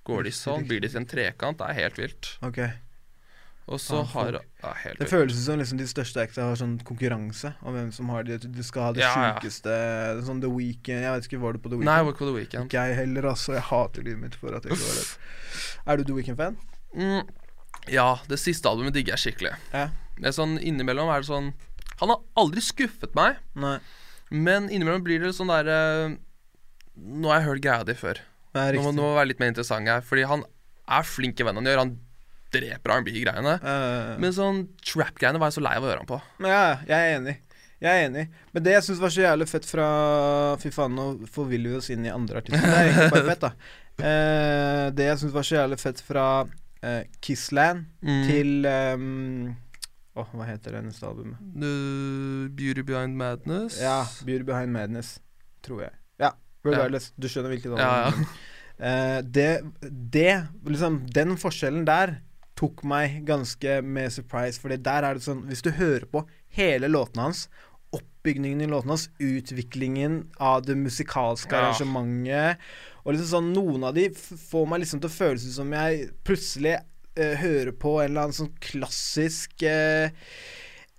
Speaker 2: går de sånn, blir de til en trekant. Det er helt vilt.
Speaker 1: Ok
Speaker 2: Og så
Speaker 1: Ah,
Speaker 2: har
Speaker 1: folk.
Speaker 2: Det er helt
Speaker 1: Det
Speaker 2: vilt.
Speaker 1: føles ut som liksom de største acta har sånn konkurranse om hvem som har det Du skal ha det
Speaker 2: Ja, ja.
Speaker 1: sjukeste Sånn The Weekend Jeg vet ikke, var du på The Weekend?
Speaker 2: Nei, Walk of the Weekend.
Speaker 1: Ikke jeg heller, altså. Jeg hater livet mitt for at jeg ikke var det. Er du The Weekend-fan?
Speaker 2: Mm, ja, det siste albumet digger jeg skikkelig.
Speaker 1: Ja.
Speaker 2: Det er sånn Innimellom er det sånn Han har aldri skuffet meg,
Speaker 1: Nei.
Speaker 2: men innimellom blir det sånn derre Nå har jeg hørt greia di før.
Speaker 1: Det er
Speaker 2: Nå må,
Speaker 1: riktig.
Speaker 2: nå må jeg være litt mer interessant her. Fordi han er flink i hva han gjør. Han dreper R&B-greiene.
Speaker 1: Eh,
Speaker 2: Men sånn trap-greiene var jeg så lei av å høre han på.
Speaker 1: men ja, ja, jeg er enig. Jeg er enig. Men det jeg syns var så jævlig fett fra Fy faen, nå forviller vi oss inn i andre artister. Det er egentlig bare fett, da. Eh, det jeg syns var så jævlig fett fra eh, Kissland
Speaker 2: Mm.
Speaker 1: til ehm, Åh, hva heter det neste albumet?
Speaker 2: The Beauty Behind Madness.
Speaker 1: Ja, Beauty Behind Madness, tror jeg. Ja, regardless. Du skjønner hvilket album.
Speaker 2: ja, ja.
Speaker 1: Eh, det, det liksom, Den forskjellen der tok meg ganske med surprise, Fordi der er det sånn Hvis du hører på hele låtene hans, oppbygningen i låtene hans, utviklingen av det musikalske
Speaker 2: Ja.
Speaker 1: arrangementet Og liksom sånn Noen av de f får meg liksom til å føles ut som jeg plutselig eh, hører på en eller annen sånn klassisk eh,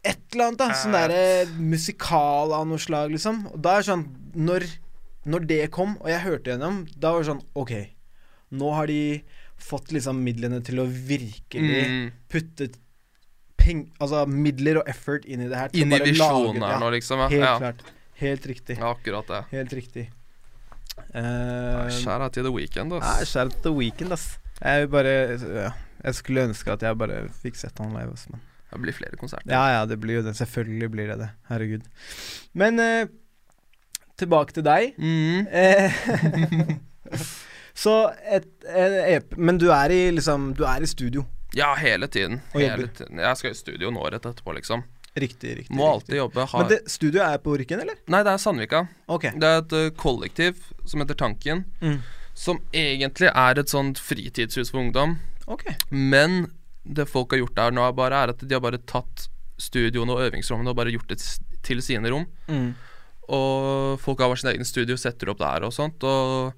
Speaker 1: et eller annet, da. Sånn
Speaker 2: Ja.
Speaker 1: derre musikal av noe slag, liksom. Og da er det sånn Når når det kom, og jeg hørte gjennom, da var det sånn Ok, nå har de fått liksom midlene til å virkelig
Speaker 2: Mm,
Speaker 1: putte peng, altså midler og effort inn i det her. til å
Speaker 2: inn i
Speaker 1: bare lage
Speaker 2: visjonen
Speaker 1: det.
Speaker 2: her nå,
Speaker 1: Ja,
Speaker 2: liksom. Ja.
Speaker 1: helt
Speaker 2: Ja.
Speaker 1: klart. Helt riktig.
Speaker 2: ja, akkurat det.
Speaker 1: Helt riktig. Uh,
Speaker 2: Skjær av til The Weekend,
Speaker 1: Nei,
Speaker 2: ass.
Speaker 1: Shout out to Weekend, ass. Jeg vil bare ja. Jeg skulle ønske at jeg bare fikk sett han live, ass, men
Speaker 2: Det blir flere konserter.
Speaker 1: Ja ja, det blir jo det. Selvfølgelig blir det det. Herregud. Men eh, tilbake til deg.
Speaker 2: Mm.
Speaker 1: Eh, så et, en EP Men du er i liksom Du er i studio.
Speaker 2: Ja, hele tiden.
Speaker 1: Og
Speaker 2: Hele
Speaker 1: jobber.
Speaker 2: tiden. Jeg skal i studio nå rett etterpå, liksom.
Speaker 1: Riktig, riktig.
Speaker 2: Må
Speaker 1: riktig.
Speaker 2: alltid jobbe. Har...
Speaker 1: Men det, studioet er på Rykken, eller?
Speaker 2: Nei, det er Sandvika.
Speaker 1: Ok.
Speaker 2: Det er et eh, kollektiv som heter Tanken,
Speaker 1: Mm.
Speaker 2: som egentlig er et sånt fritidshus for ungdom.
Speaker 1: Ok.
Speaker 2: Men det folk har gjort der nå, er bare er at de har bare tatt studioene og øvingsrommene og bare gjort det s- til sine rom.
Speaker 1: Mm.
Speaker 2: Og folk har hver sin egen studio, setter opp der og sånt. Og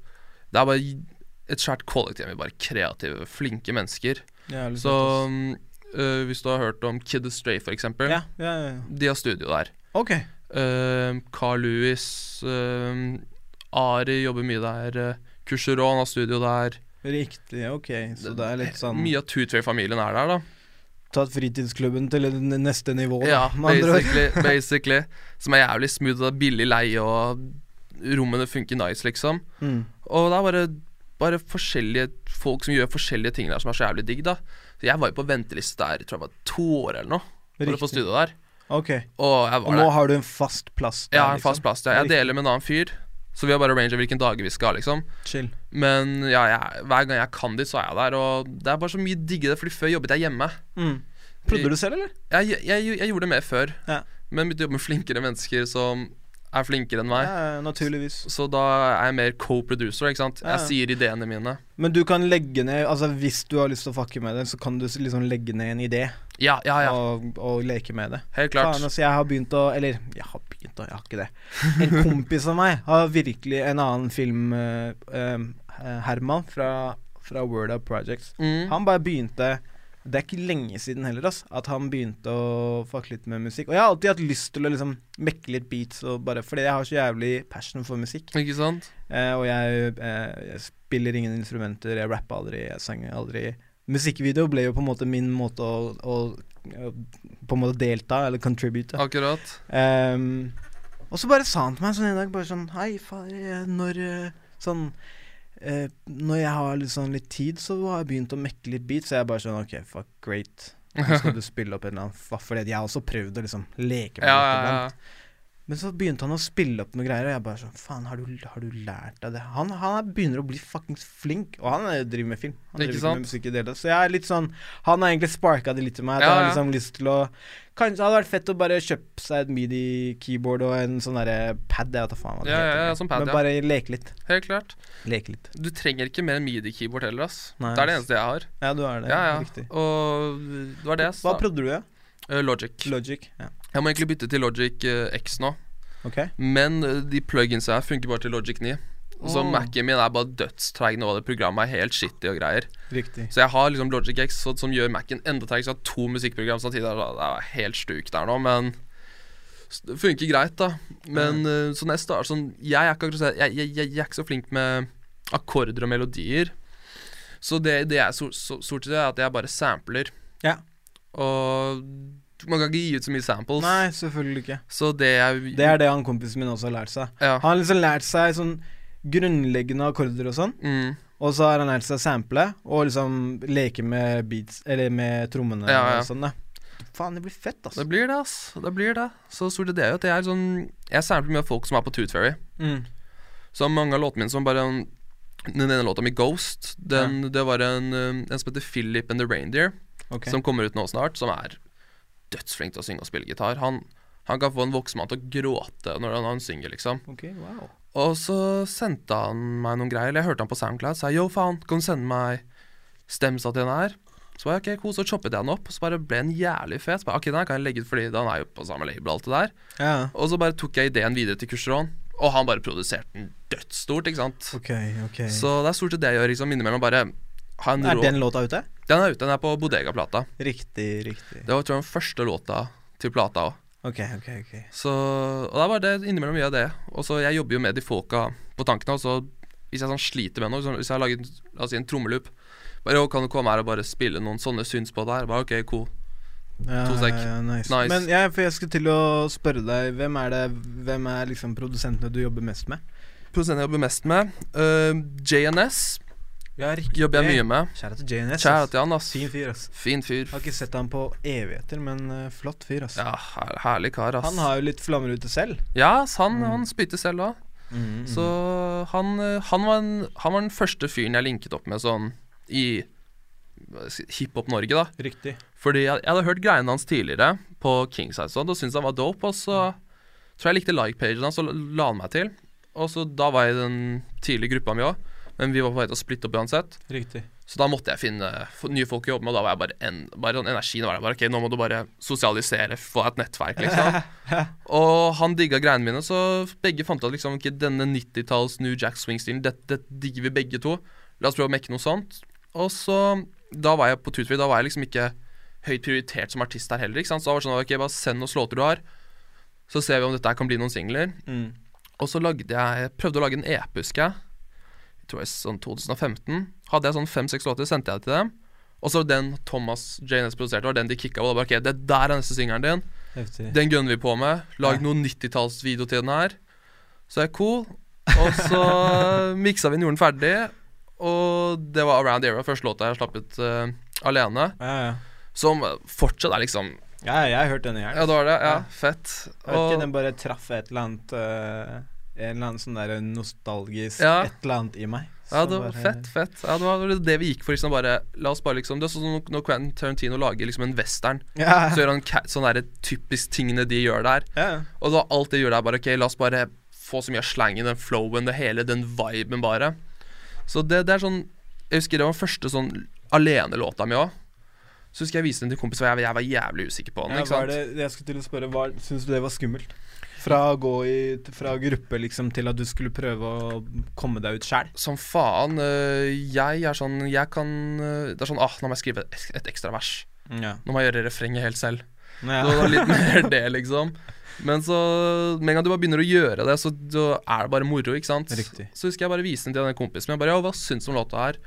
Speaker 2: det er bare et svært kollektiv med bare kreative, flinke mennesker.
Speaker 1: Jævlig
Speaker 2: Så
Speaker 1: fett, ass.
Speaker 2: mm, øh, hvis du har hørt om Kid Astray, for eksempel.
Speaker 1: ja, ja, ja, ja.
Speaker 2: De har studio der.
Speaker 1: Ok.
Speaker 2: Uh, Carl Lewis, øh, Ari jobber mye der. øh, Kusheron har studio der.
Speaker 1: Riktig, ok. Så det er litt sånn
Speaker 2: Mye av Tootway-familien er der, da.
Speaker 1: Tatt fritidsklubben til det n- neste nivå, da,
Speaker 2: Ja,
Speaker 1: med andre ord.
Speaker 2: basically, basically. Som er jævlig smooth, og det er billig leie, og rommene funker nice, liksom.
Speaker 1: Mm.
Speaker 2: Og det er bare, bare forskjellige folk som gjør forskjellige ting der, som er så jævlig digg, da. Så jeg var jo på venteliste der i tror jeg var to år eller noe, for å få
Speaker 1: Riktig.
Speaker 2: studio der.
Speaker 1: Ok.
Speaker 2: Og jeg
Speaker 1: Og
Speaker 2: var
Speaker 1: nå
Speaker 2: der.
Speaker 1: har du en fast plass der, liksom.
Speaker 2: Jeg har en fast plass. Ja. Jeg
Speaker 1: Riktig.
Speaker 2: deler med en annen fyr, så vi har bare ranger hvilken dager vi skal ha, liksom.
Speaker 1: Chill.
Speaker 2: Men ja, jeg, hver gang jeg kan dit, så er jeg der, og det er bare så mye diggere, fordi før jobbet jeg hjemme.
Speaker 1: Mm. Prøvde du selv, eller?
Speaker 2: Jeg, jeg, jeg, gjorde det mer før,
Speaker 1: Ja.
Speaker 2: men begynte å jobbe med flinkere mennesker som er flinkere enn meg.
Speaker 1: Ja, naturligvis.
Speaker 2: Så da er jeg mer co-producer, ikke sant.
Speaker 1: Ja, ja.
Speaker 2: Jeg sier ideene mine.
Speaker 1: Men du kan legge ned Altså Hvis du har lyst til å fucke med det, så kan du s- liksom legge ned en idé
Speaker 2: Ja, ja, Ah, ja.
Speaker 1: og, og leke med det.
Speaker 2: Helt
Speaker 1: Faen,
Speaker 2: klart.
Speaker 1: altså, jeg har begynt å Eller, jeg har begynt å Jeg har ikke det. En kompis av meg har virkelig en annen film eh, eh, Herman fra, fra Word Up Projects.
Speaker 2: Mm.
Speaker 1: Han bare begynte Det er ikke lenge siden heller, ass, at han begynte å fucke litt med musikk. Og jeg har alltid hatt lyst til å liksom mekke litt beats, og bare fordi jeg har så jævlig passion for musikk.
Speaker 2: Ikke sant?
Speaker 1: Eh, og jeg, eh, jeg spiller ingen instrumenter, jeg rapper aldri, jeg sanger aldri. Musikkvideo ble jo på en måte min måte å, å, å på en måte delta, eller contribute.
Speaker 2: Akkurat.
Speaker 1: Ehm, og så bare sa han til meg sånn en dag bare sånn Hei, far, jeg- når eh, sånn eh, Når jeg har litt, sånn, litt tid, så har jeg begynt å mekke litt beats. Så jeg bare sånn OK, fuck, great. Nå skal du spille opp en eller annen fa- Fordi jeg har også prøvd å liksom leke med
Speaker 2: Ja, ja,
Speaker 1: litt
Speaker 2: ja.
Speaker 1: iblant. Men så begynte han å spille opp noen greier, og jeg bare sånn Faen, har, du- har du lært deg det? Han, han er, begynner å bli fuckings flink, og han eh, driver med film. Han
Speaker 2: Ikke
Speaker 1: driver
Speaker 2: sant?
Speaker 1: ikke med musikk i det hele tatt. Så jeg er litt sånn Han har egentlig sparka det litt i meg. At
Speaker 2: Ja,
Speaker 1: jeg har
Speaker 2: ja.
Speaker 1: liksom lyst til å Kanskje hadde det vært fett å bare kjøpe seg et midi-keyboard og en sånn derre pad, jeg vet da faen hva det
Speaker 2: Ja, ja,
Speaker 1: heter.
Speaker 2: ja, sånn pad,
Speaker 1: Men
Speaker 2: ja.
Speaker 1: bare leke litt.
Speaker 2: Helt klart.
Speaker 1: Leke litt.
Speaker 2: Du trenger ikke mer midi-keyboard heller, ass.
Speaker 1: Nei,
Speaker 2: Det er det
Speaker 1: ass.
Speaker 2: eneste jeg har.
Speaker 1: Ja, du er det.
Speaker 2: Ja, ja.
Speaker 1: Riktig.
Speaker 2: Og det var det jeg
Speaker 1: Hva
Speaker 2: sa.
Speaker 1: prøvde du, ja?
Speaker 2: Eh, Logic.
Speaker 1: Logic. Ja.
Speaker 2: Jeg må egentlig bytte til Logic eh, X nå.
Speaker 1: Ok.
Speaker 2: Men eh, de plugins her funker bare til Logic 9. Så
Speaker 1: Åh.
Speaker 2: Mac-en min er bare dødstreig nå, og det programmet er helt shitty og greier.
Speaker 1: Riktig.
Speaker 2: Så jeg har liksom Logic X så, som gjør Mac-en enda treig. Så jeg har to musikkprogram samtidig. Det er- det er helt stuk der nå, men s- det funker greit, da. Men eh, så når jeg starter sånn jeg, er ikke akkurat så- jeg, jeg, jeg, jeg er ikke så flink med akkorder og melodier. Så det, det jeg so- so- stort sett gjør, er at jeg bare sampler.
Speaker 1: Ja.
Speaker 2: Og man kan ikke gi ut så mye samples.
Speaker 1: Nei, selvfølgelig ikke.
Speaker 2: Så det jeg
Speaker 1: Det er det han kompisen min også har lært seg.
Speaker 2: Ja.
Speaker 1: Han har liksom lært seg sånn grunnleggende akkorder og sånn.
Speaker 2: Mm,
Speaker 1: Og så har han lært seg sample og liksom leke med beats Eller med trommene
Speaker 2: Ja, ja.
Speaker 1: og sånn, da. Faen, det blir fett, altså.
Speaker 2: det blir det, ass. Det blir det. Så stort sett det er jo at jeg er sånn Jeg sampler mye av folk som er på Tooth Fairy.
Speaker 1: Mm.
Speaker 2: Så mange av låtene mine som bare um, Den ene låta mi, Ghost, den, det var en, um, en som heter Philip and the Reindeer,
Speaker 1: Ok.
Speaker 2: som kommer ut nå snart, som er dødsflink til å synge og spille gitar. Han, han kan få en voksen mann til å gråte når han, han synger, liksom.
Speaker 1: Ok, wow.
Speaker 2: Og så sendte han meg noen greier, eller jeg hørte han på SoundCloud, sa yo, faen, kan du sende meg stemsa til den her? Så var jeg, ok, cool, så choppet jeg den opp, og så bare ble den jævlig fet. Så bare, ok, den her kan jeg legge ut fordi den er jo på samme label og alt det der.
Speaker 1: Ja.
Speaker 2: Og så bare tok jeg ideen videre til Kurseron, og han bare produserte den dødsstort, ikke sant.
Speaker 1: Ok, ok.
Speaker 2: Så det er stort sett det jeg gjør, liksom innimellom bare ha en
Speaker 1: er
Speaker 2: rå
Speaker 1: den låta ute?
Speaker 2: Den er ute, den er på Bodega-plata.
Speaker 1: Riktig, riktig.
Speaker 2: Det var tror jeg den første låta til plata òg.
Speaker 1: Ok, ok, ok.
Speaker 2: Så Og det er bare det innimellom mye av det. Og så jeg jobber jo med de folka på tankene, og så hvis jeg sånn sliter med noe, sånn, hvis jeg har laget la oss si en trommeloop bare, «Å, Kan du komme her og bare spille noen sånne syns på der? Bare, ok, cool.
Speaker 1: Ja,
Speaker 2: To sek.
Speaker 1: ja, ja, nice.
Speaker 2: Nice.
Speaker 1: Men jeg, for jeg skulle til å spørre deg, hvem er det Hvem er liksom produsentene du jobber mest med?
Speaker 2: Produsenten jeg jobber mest med, øh, JNS,
Speaker 1: Ja, riktig.
Speaker 2: jobber jeg mye med.
Speaker 1: Kjære til JNS. ass.
Speaker 2: Kjære til han, ass.
Speaker 1: Fin fyr, ass.
Speaker 2: Fin fyr.
Speaker 1: Jeg har ikke sett han på evigheter, men eh, flott fyr, ass.
Speaker 2: Ja, her- herlig kar, ass.
Speaker 1: Han har jo litt flammer ute selv.
Speaker 2: Ja, ass, han,
Speaker 1: Mm.
Speaker 2: han spytter selv òg. Så han, eh, han, var en, han var den første fyren jeg linket opp med sånn i hva skal jeg si, hiphop-Norge, da.
Speaker 1: Riktig.
Speaker 2: Fordi jeg, jeg hadde hørt greiene hans tidligere på Kingsize og da syntes jeg han var dope, og så tror jeg likte like-pagen hans og la la han meg til. Og så da var jeg i den tidlige gruppa mi òg, men vi var på vei til å splitte opp uansett.
Speaker 1: Riktig.
Speaker 2: Så da måtte jeg finne f- nye folk å jobbe med, og da var jeg bare, en, bare sånn energien var der. Bare, ok, nå må du bare sosialisere, få deg et nettverk, liksom. og han digga greiene mine, så begge fant ut at liksom, ok, denne 90-talls New Jack Swing-stilen, dette dette digger vi begge to. La oss prøve å mekke noe sånt. Og så, da var jeg på Tutorfree, da var jeg liksom ikke høyt prioritert som artist her heller, ikke sant. Så da var det sånn, ok, bare send oss låter du har, så ser vi om dette her kan bli noen singler.
Speaker 4: Mm.
Speaker 2: Og så lagde jeg, jeg prøvde å lage en EP, husker jeg. Jeg tror jeg sånn 2015. Hadde jeg sånn fem-seks låter, sendte jeg det til dem. Og så den Thomas JNS produserte, var den de kicka på. Og da bare, ok, det der er neste singelen din.
Speaker 1: Heftig.
Speaker 2: Den gønner vi på med. Lag
Speaker 1: Ja.
Speaker 2: noen 90-tallsvideo til den her. Så jeg er cool. Og så miksa vi den, gjorde den ferdig. Og det var Around the Era, første låta jeg slapp ut eh, alene.
Speaker 1: Ja, ja.
Speaker 2: Som fortsatt er liksom
Speaker 1: ja, jeg har hørt denne her.
Speaker 2: Ja, det var det. Ja,
Speaker 1: Ja.
Speaker 2: fett.
Speaker 1: Jeg vet ikke,
Speaker 2: Og-
Speaker 1: den bare traff et eller annet øh, En eller annen sånn der nostalgisk
Speaker 2: Ja.
Speaker 1: et eller annet i meg.
Speaker 2: Ja,
Speaker 1: som
Speaker 2: det var
Speaker 1: bare-
Speaker 2: fett, fett. Ja, det var det vi gikk for. liksom bare, La oss bare liksom Det er sånn som når Quentin Tarantino lager liksom en western,
Speaker 1: Ja,
Speaker 2: så gjør han ca- sånne der typisk tingene de gjør der.
Speaker 1: ja.
Speaker 2: Og da alt de gjør der, bare OK, la oss bare få så mye av slangen, den flowen, det hele, den viben, bare. Så det, det er sånn Jeg husker det var første sånn alenelåta mi òg. Så husker jeg viste den til kompiser, og jeg, jeg var jævlig usikker på den.
Speaker 1: Ja,
Speaker 2: ikke
Speaker 1: var
Speaker 2: sant?
Speaker 1: det, jeg skulle til å spørre, var, Syns du det var skummelt? Fra å gå i fra gruppe liksom til at du skulle prøve å komme deg ut sjæl?
Speaker 2: Som faen. øh, jeg er sånn Jeg kan øh, Det er sånn ah, nå må jeg skrive et, et ekstra vers.
Speaker 1: Ja.
Speaker 2: Nå må jeg gjøre refrenget helt selv.
Speaker 1: Ja.
Speaker 2: Så det Mm, var litt mer det, liksom. Men så med en gang du bare begynner å gjøre det, så, så er det bare moro, ikke sant?
Speaker 1: Riktig.
Speaker 2: Så husker jeg bare viste den til den kompisen min. Jeg bare, ja, hva syns du om låta her?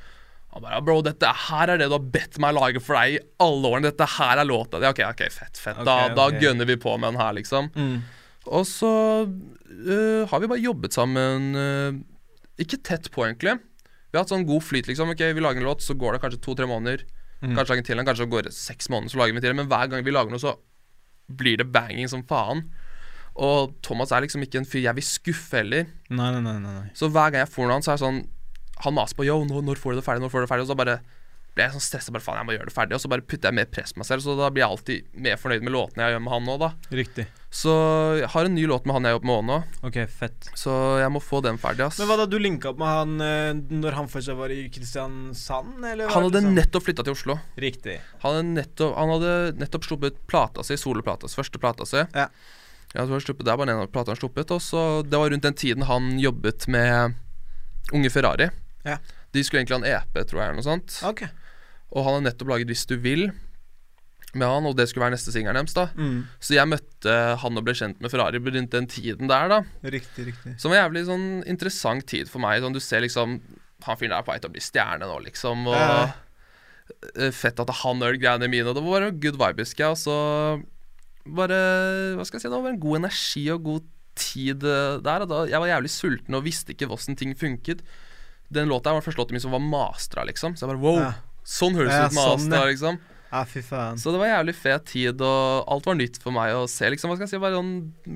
Speaker 2: Han bare, ja, bro, dette her er det du har bedt meg lage for deg i alle årene. Dette her er låta di. Ok, ok, fett, fett. da,
Speaker 1: Ok,
Speaker 2: da
Speaker 1: ok.
Speaker 2: gønner vi på med den her, liksom.
Speaker 1: Mm.
Speaker 2: Og så øh, har vi bare jobbet sammen øh, Ikke tett på, egentlig. Vi har hatt sånn god flyt, liksom. Ok, Vi lager en låt, så går det kanskje to-tre måneder.
Speaker 1: Mm.
Speaker 2: Kanskje lager en til en, kanskje går det seks måneder, så lager vi en til en. Men hver gang vi lager noe, så blir det banging som faen. Og Thomas er liksom ikke en fyr jeg vil skuffe heller.
Speaker 1: Nei, nei, nei, nei, nei.
Speaker 2: Så hver gang jeg får noe av han, så er det sånn Han maser på Yo, når, når får du det ferdig? Når får du det ferdig? Og så bare blir jeg sånn stressa. Bare faen, jeg må gjøre det ferdig. Og så bare putter jeg mer press på meg selv. Så da blir jeg alltid mer fornøyd med låtene jeg gjør med han nå, da.
Speaker 1: Riktig.
Speaker 2: Så jeg har en ny låt med han jeg jobber med òg nå.
Speaker 1: Ok, fett.
Speaker 2: Så jeg må få den ferdig, ass.
Speaker 1: Men hva da, du linka opp med han øh, når han fortsatt var i Kristiansand, eller?
Speaker 2: han
Speaker 1: var det
Speaker 2: hadde
Speaker 1: liksom-
Speaker 2: nettopp flytta til Oslo.
Speaker 1: Riktig.
Speaker 2: Han hadde nettopp, han hadde nettopp sluppet plata si, soloplata si, første plata si.
Speaker 1: Ja.
Speaker 2: Ja, det, var sluppet, det er bare den ene plata han sluppet. Og så Det var rundt den tiden han jobbet med Unge Ferrari.
Speaker 1: Ja.
Speaker 2: De skulle egentlig ha en EP, tror jeg, eller noe sånt.
Speaker 1: Ok.
Speaker 2: Og han har nettopp laget 'Hvis du vil' med han, og det skulle være neste singelen deres, da.
Speaker 1: Mm.
Speaker 2: Så jeg møtte han og ble kjent med Ferrari rundt den tiden der, da.
Speaker 1: Riktig, riktig.
Speaker 2: Som var en jævlig sånn interessant tid for meg. Sånn, du ser liksom Han fyren der er på vei til å bli stjerne nå, liksom. Og
Speaker 1: Ja.
Speaker 2: eh, fett at han hører greiene mine. Og det var bare en good vibe, husker jeg. Og så bare Hva skal jeg si? Det var bare en god energi og god tid eh, der. Og da, jeg var jævlig sulten og visste ikke hvordan ting funket. Den låta her var den første låta mi som var mastra, liksom. Så jeg bare wow.
Speaker 1: Ja.
Speaker 2: Sånn høres det
Speaker 1: Ja,
Speaker 2: ut
Speaker 1: sånn,
Speaker 2: mastra,
Speaker 1: ja.
Speaker 2: liksom.
Speaker 1: Ja, fy faen.
Speaker 2: Så det var jævlig fet tid, og alt var nytt for meg å se. liksom, hva skal jeg si, bare sånn,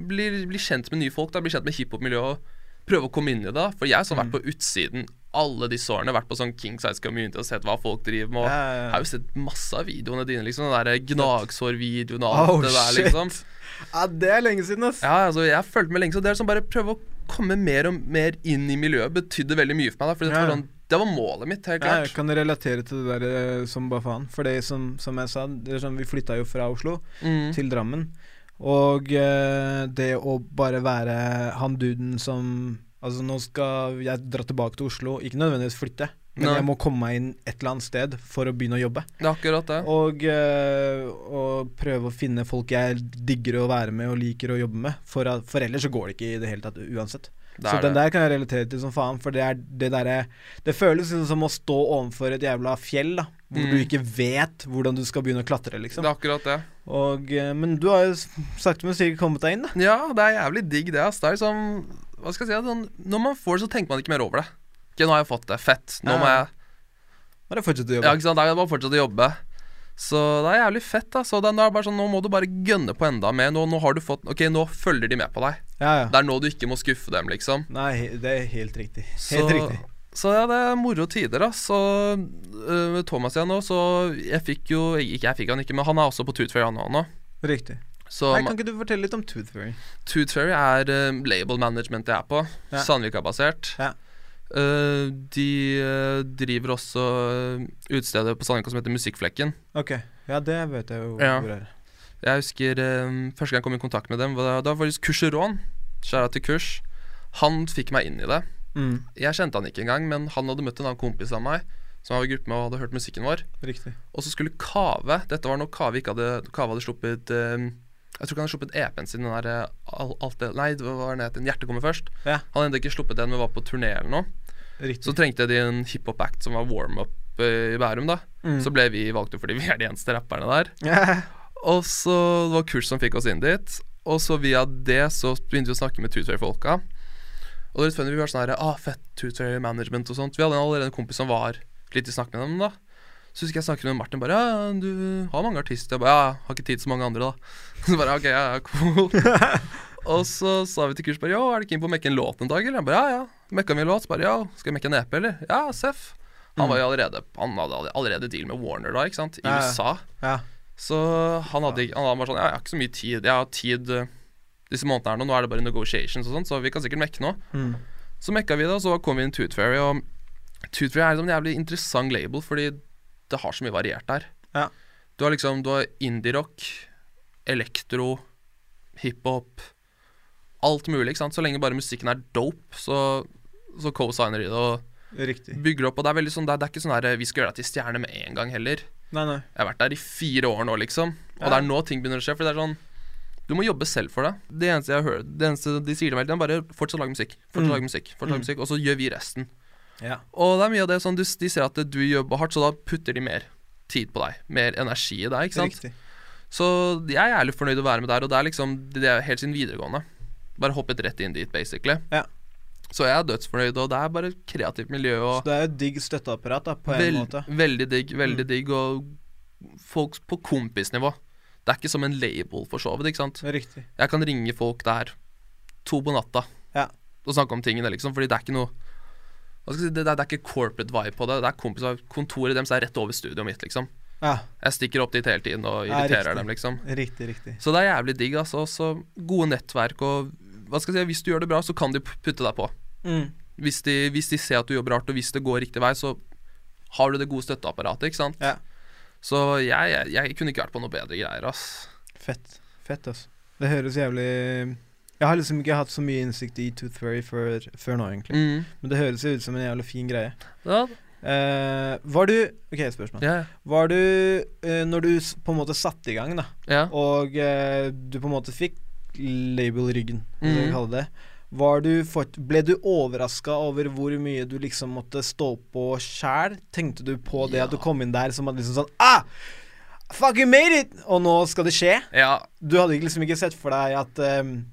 Speaker 2: bli, bli kjent med nye folk, da, bli kjent med hiphop-miljøet og prøve å komme inn i det. da, For jeg har sånn vært
Speaker 1: Mm.
Speaker 2: på utsiden alle disse årene, vært på sånn King Size Community og sett hva folk driver med. og
Speaker 1: Ja, ja, ja.
Speaker 2: Jeg har jo sett masse av videoene dine, liksom. Den der gnagsårvideoen og alt
Speaker 1: Oh,
Speaker 2: det der,
Speaker 1: shit.
Speaker 2: liksom.
Speaker 1: Ja, det er lenge siden, ass.
Speaker 2: Ja, altså, jeg har fulgt med lenge, så det er sånn bare prøve å komme mer og mer inn i miljøet betydde veldig mye for meg. da, for det
Speaker 1: Ja, ja.
Speaker 2: var, sånn, det var målet mitt, helt
Speaker 1: Ja, jeg
Speaker 2: klart.
Speaker 1: kan relatere til det der eh, som bare faen. For det som, som jeg sa, det er sånn, vi flytta jo fra Oslo
Speaker 2: Mm.
Speaker 1: til Drammen. Og eh, det å bare være han duden som Altså, nå skal jeg dra tilbake til Oslo. Ikke nødvendigvis flytte, men
Speaker 2: Nei.
Speaker 1: jeg må komme meg inn et eller annet sted for å begynne å jobbe.
Speaker 2: Det er akkurat det.
Speaker 1: Og, eh, og prøve å finne folk jeg digger å være med og liker å jobbe med. For, at, for ellers så går det ikke i det hele tatt uansett.
Speaker 2: det
Speaker 1: så
Speaker 2: er
Speaker 1: den
Speaker 2: det.
Speaker 1: der kan jeg relatere til som faen, for det er det derre Det føles liksom som å stå overfor et jævla fjell, da. Hvor
Speaker 2: Mm.
Speaker 1: du ikke vet hvordan du skal begynne å klatre,
Speaker 2: Det
Speaker 1: liksom.
Speaker 2: er akkurat det.
Speaker 1: Og, eh, men du har jo s- sakte, men sikkert kommet deg inn, da.
Speaker 2: Ja, det er jævlig digg det, ass. Det er liksom Hva skal jeg si? Sånn, når man får det, så tenker man ikke mer over det. Ok, nå har jeg fått det. Fett. Nå må
Speaker 1: Ja.
Speaker 2: jeg
Speaker 1: Bare fortsett å
Speaker 2: Ja,
Speaker 1: jobbe.
Speaker 2: ikke sant. Da er det bare å fortsette å jobbe. Så det er jævlig fett, da. Så det, nå er det bare sånn Nå må du bare gønne på enda mer. Nå, nå har du fått Ok, nå følger de med på deg.
Speaker 1: Ja, ja.
Speaker 2: Det er nå du ikke må skuffe dem, liksom.
Speaker 1: Nei, he- det er helt riktig.
Speaker 2: Så,
Speaker 1: Helt riktig.
Speaker 2: så ja, det er moro tider, ass. Så øh, med Thomas igjen nå, så jeg fikk jo Ikke jeg fikk han ikke, men han er også på Tooth Fairy, han òg nå.
Speaker 1: Riktig.
Speaker 2: Så
Speaker 1: Nei, kan ikke du fortelle litt om Tooth Fairy?
Speaker 2: Tooth Fairy er øh, label management jeg er på.
Speaker 1: Ja.
Speaker 2: Sandvika-basert.
Speaker 1: Ja.
Speaker 2: Øh, de øh, driver også øh, utestedet på Sandvika som heter Musikkflekken.
Speaker 1: Ok, ja, det vet jeg jo
Speaker 2: Ja.
Speaker 1: hvor er.
Speaker 2: Jeg husker eh, første gang jeg kom i kontakt med dem, var, da var faktisk Kurseron. Skjæra til Kurs. Han fikk meg inn i det.
Speaker 1: Mm,
Speaker 2: Jeg kjente han ikke engang, men han hadde møtt en annen kompis av meg som han var i gruppe med og hadde hørt musikken vår.
Speaker 1: riktig.
Speaker 2: Og så skulle Kave Dette var når Kave ikke hadde Kave hadde sluppet eh, Jeg tror ikke han hadde sluppet EP-en sin, den der eh, al, alt det, Nei, det var den het Hjertet kommer først.
Speaker 1: Ja.
Speaker 2: Han hadde enda ikke sluppet den, men var på turné eller noe.
Speaker 1: Riktig.
Speaker 2: Så trengte de en hiphop-act som var warm-up eh, i Bærum, da.
Speaker 1: Mm.
Speaker 2: Så ble vi valgt ut fordi vi er de eneste rapperne der.
Speaker 1: Ja,
Speaker 2: Og så det var Kurs som fikk oss inn dit. Og så via det så begynte vi å snakke med Tutway-folka. Og det er litt funny, vi var sånn her ah, fett Tutway management og sånt. Vi hadde allerede en kompis som var litt i snakk med dem, da. Så husker jeg snakket med Martin bare Ja, du har mange artister. Jeg bare Ja, har ikke tid til så mange andre, da. Så bare OK, ja, ja, cool. og så sa vi til Kurs bare Yo, er du keen på å mekke en låt en dag, eller? Han bare ja, ja. Mekka vi en låt? Så bare ja, skal vi mekke en EP, eller? Ja, seff. Han var jo allerede Han hadde allerede deal med Warner da, ikke sant?
Speaker 1: Mm.
Speaker 2: I
Speaker 1: Ja, ja.
Speaker 2: USA.
Speaker 1: ja.
Speaker 2: Så han hadde ikke Han var sånn Jeg har ikke så mye tid. Jeg har tid eh, disse månedene her nå. Nå er det bare negotiations og sånn, så vi kan sikkert mekke nå.
Speaker 1: Mm.
Speaker 2: Så mekka vi det, og så kom vi inn Tooth Fairy, og Tooth Fairy er liksom en jævlig interessant label fordi det har så mye variert der.
Speaker 1: Ja.
Speaker 2: Du har liksom Du har indie-rock, elektro, hiphop Alt mulig, ikke sant. Så lenge bare musikken er dope, så, så co-signer de det og
Speaker 1: Riktig.
Speaker 2: bygger opp. Og det er veldig sånn Det er, det er ikke sånn der eh, Vi skal gjøre deg til stjerne med en gang heller.
Speaker 1: Nei, nei.
Speaker 2: Jeg har vært der i fire år nå, liksom. Og
Speaker 1: Ja.
Speaker 2: det er nå ting begynner å skje. For det er sånn Du må jobbe selv for det. Det eneste jeg hører Det eneste de sier til meg, hele tiden, er bare fortsett å lage musikk. Fortsett å
Speaker 1: Mm.
Speaker 2: lage musikk, fortsett å lage
Speaker 1: Mm.
Speaker 2: musikk Og så gjør vi resten.
Speaker 1: Ja.
Speaker 2: Og det er mye av det sånn du, De ser at du jobber hardt, så da putter de mer tid på deg. Mer energi i deg, ikke sant.
Speaker 1: Riktig.
Speaker 2: Så jeg er jævlig fornøyd å være med der, og det er liksom Det er helt siden videregående. Bare hoppet rett inn dit, basically.
Speaker 1: Ja.
Speaker 2: Så jeg er dødsfornøyd, og det er bare et kreativt miljø og
Speaker 1: Så det er jo et digg støtteapparat, da, på en
Speaker 2: Vel-
Speaker 1: måte. Mm.
Speaker 2: Veldig digg, veldig digg, og folk på kompisnivå. Det er ikke som en label, for så vidt. ikke sant?
Speaker 1: Riktig.
Speaker 2: Jeg kan ringe folk der to på natta
Speaker 1: Ja.
Speaker 2: og snakke om tingene, liksom, fordi det er ikke noe hva skal jeg si, det, det, er ikke corporate vibe på det. Det er kompiser, Kontoret deres er rett over studioet mitt, liksom.
Speaker 1: Ja,
Speaker 2: Jeg stikker opp dit hele tiden og
Speaker 1: Ja,
Speaker 2: irriterer
Speaker 1: riktig.
Speaker 2: dem, liksom.
Speaker 1: riktig, riktig.
Speaker 2: Så det er jævlig digg, altså. Så gode nettverk og hva skal jeg si, Hvis du gjør det bra, så kan de p- putte deg på.
Speaker 1: Mm.
Speaker 2: Hvis de, hvis de ser at du jobber hardt, og hvis det går riktig vei, så har du det gode støtteapparatet, ikke sant?
Speaker 1: Ja.
Speaker 2: Så jeg, jeg, jeg kunne ikke vært på noe bedre greier, ass.
Speaker 1: Fett. Fett, altså. Det høres jævlig Jeg har liksom ikke hatt så mye innsikt i Tooth Fairy før, før nå, egentlig.
Speaker 2: Mm.
Speaker 1: Men det høres jo ut som en jævlig fin greie.
Speaker 2: Ja,
Speaker 1: Eh, var du Ok, spørsmål.
Speaker 2: ja,
Speaker 1: Var du eh, Når du s- på en måte satte i gang, da,
Speaker 2: ja.
Speaker 1: og eh, du på en måte fikk label-ryggen, hvis jeg
Speaker 2: Mhm.
Speaker 1: kan kalle det. Var du fort, ble du overraska over hvor mye du liksom måtte stå på sjæl? Tenkte du på det
Speaker 2: Ja.
Speaker 1: at du kom inn der som at liksom sånn Ah! Fuck, you made it! Og nå skal det skje?
Speaker 2: ja.
Speaker 1: Du hadde ikke liksom ikke sett for deg at ehm,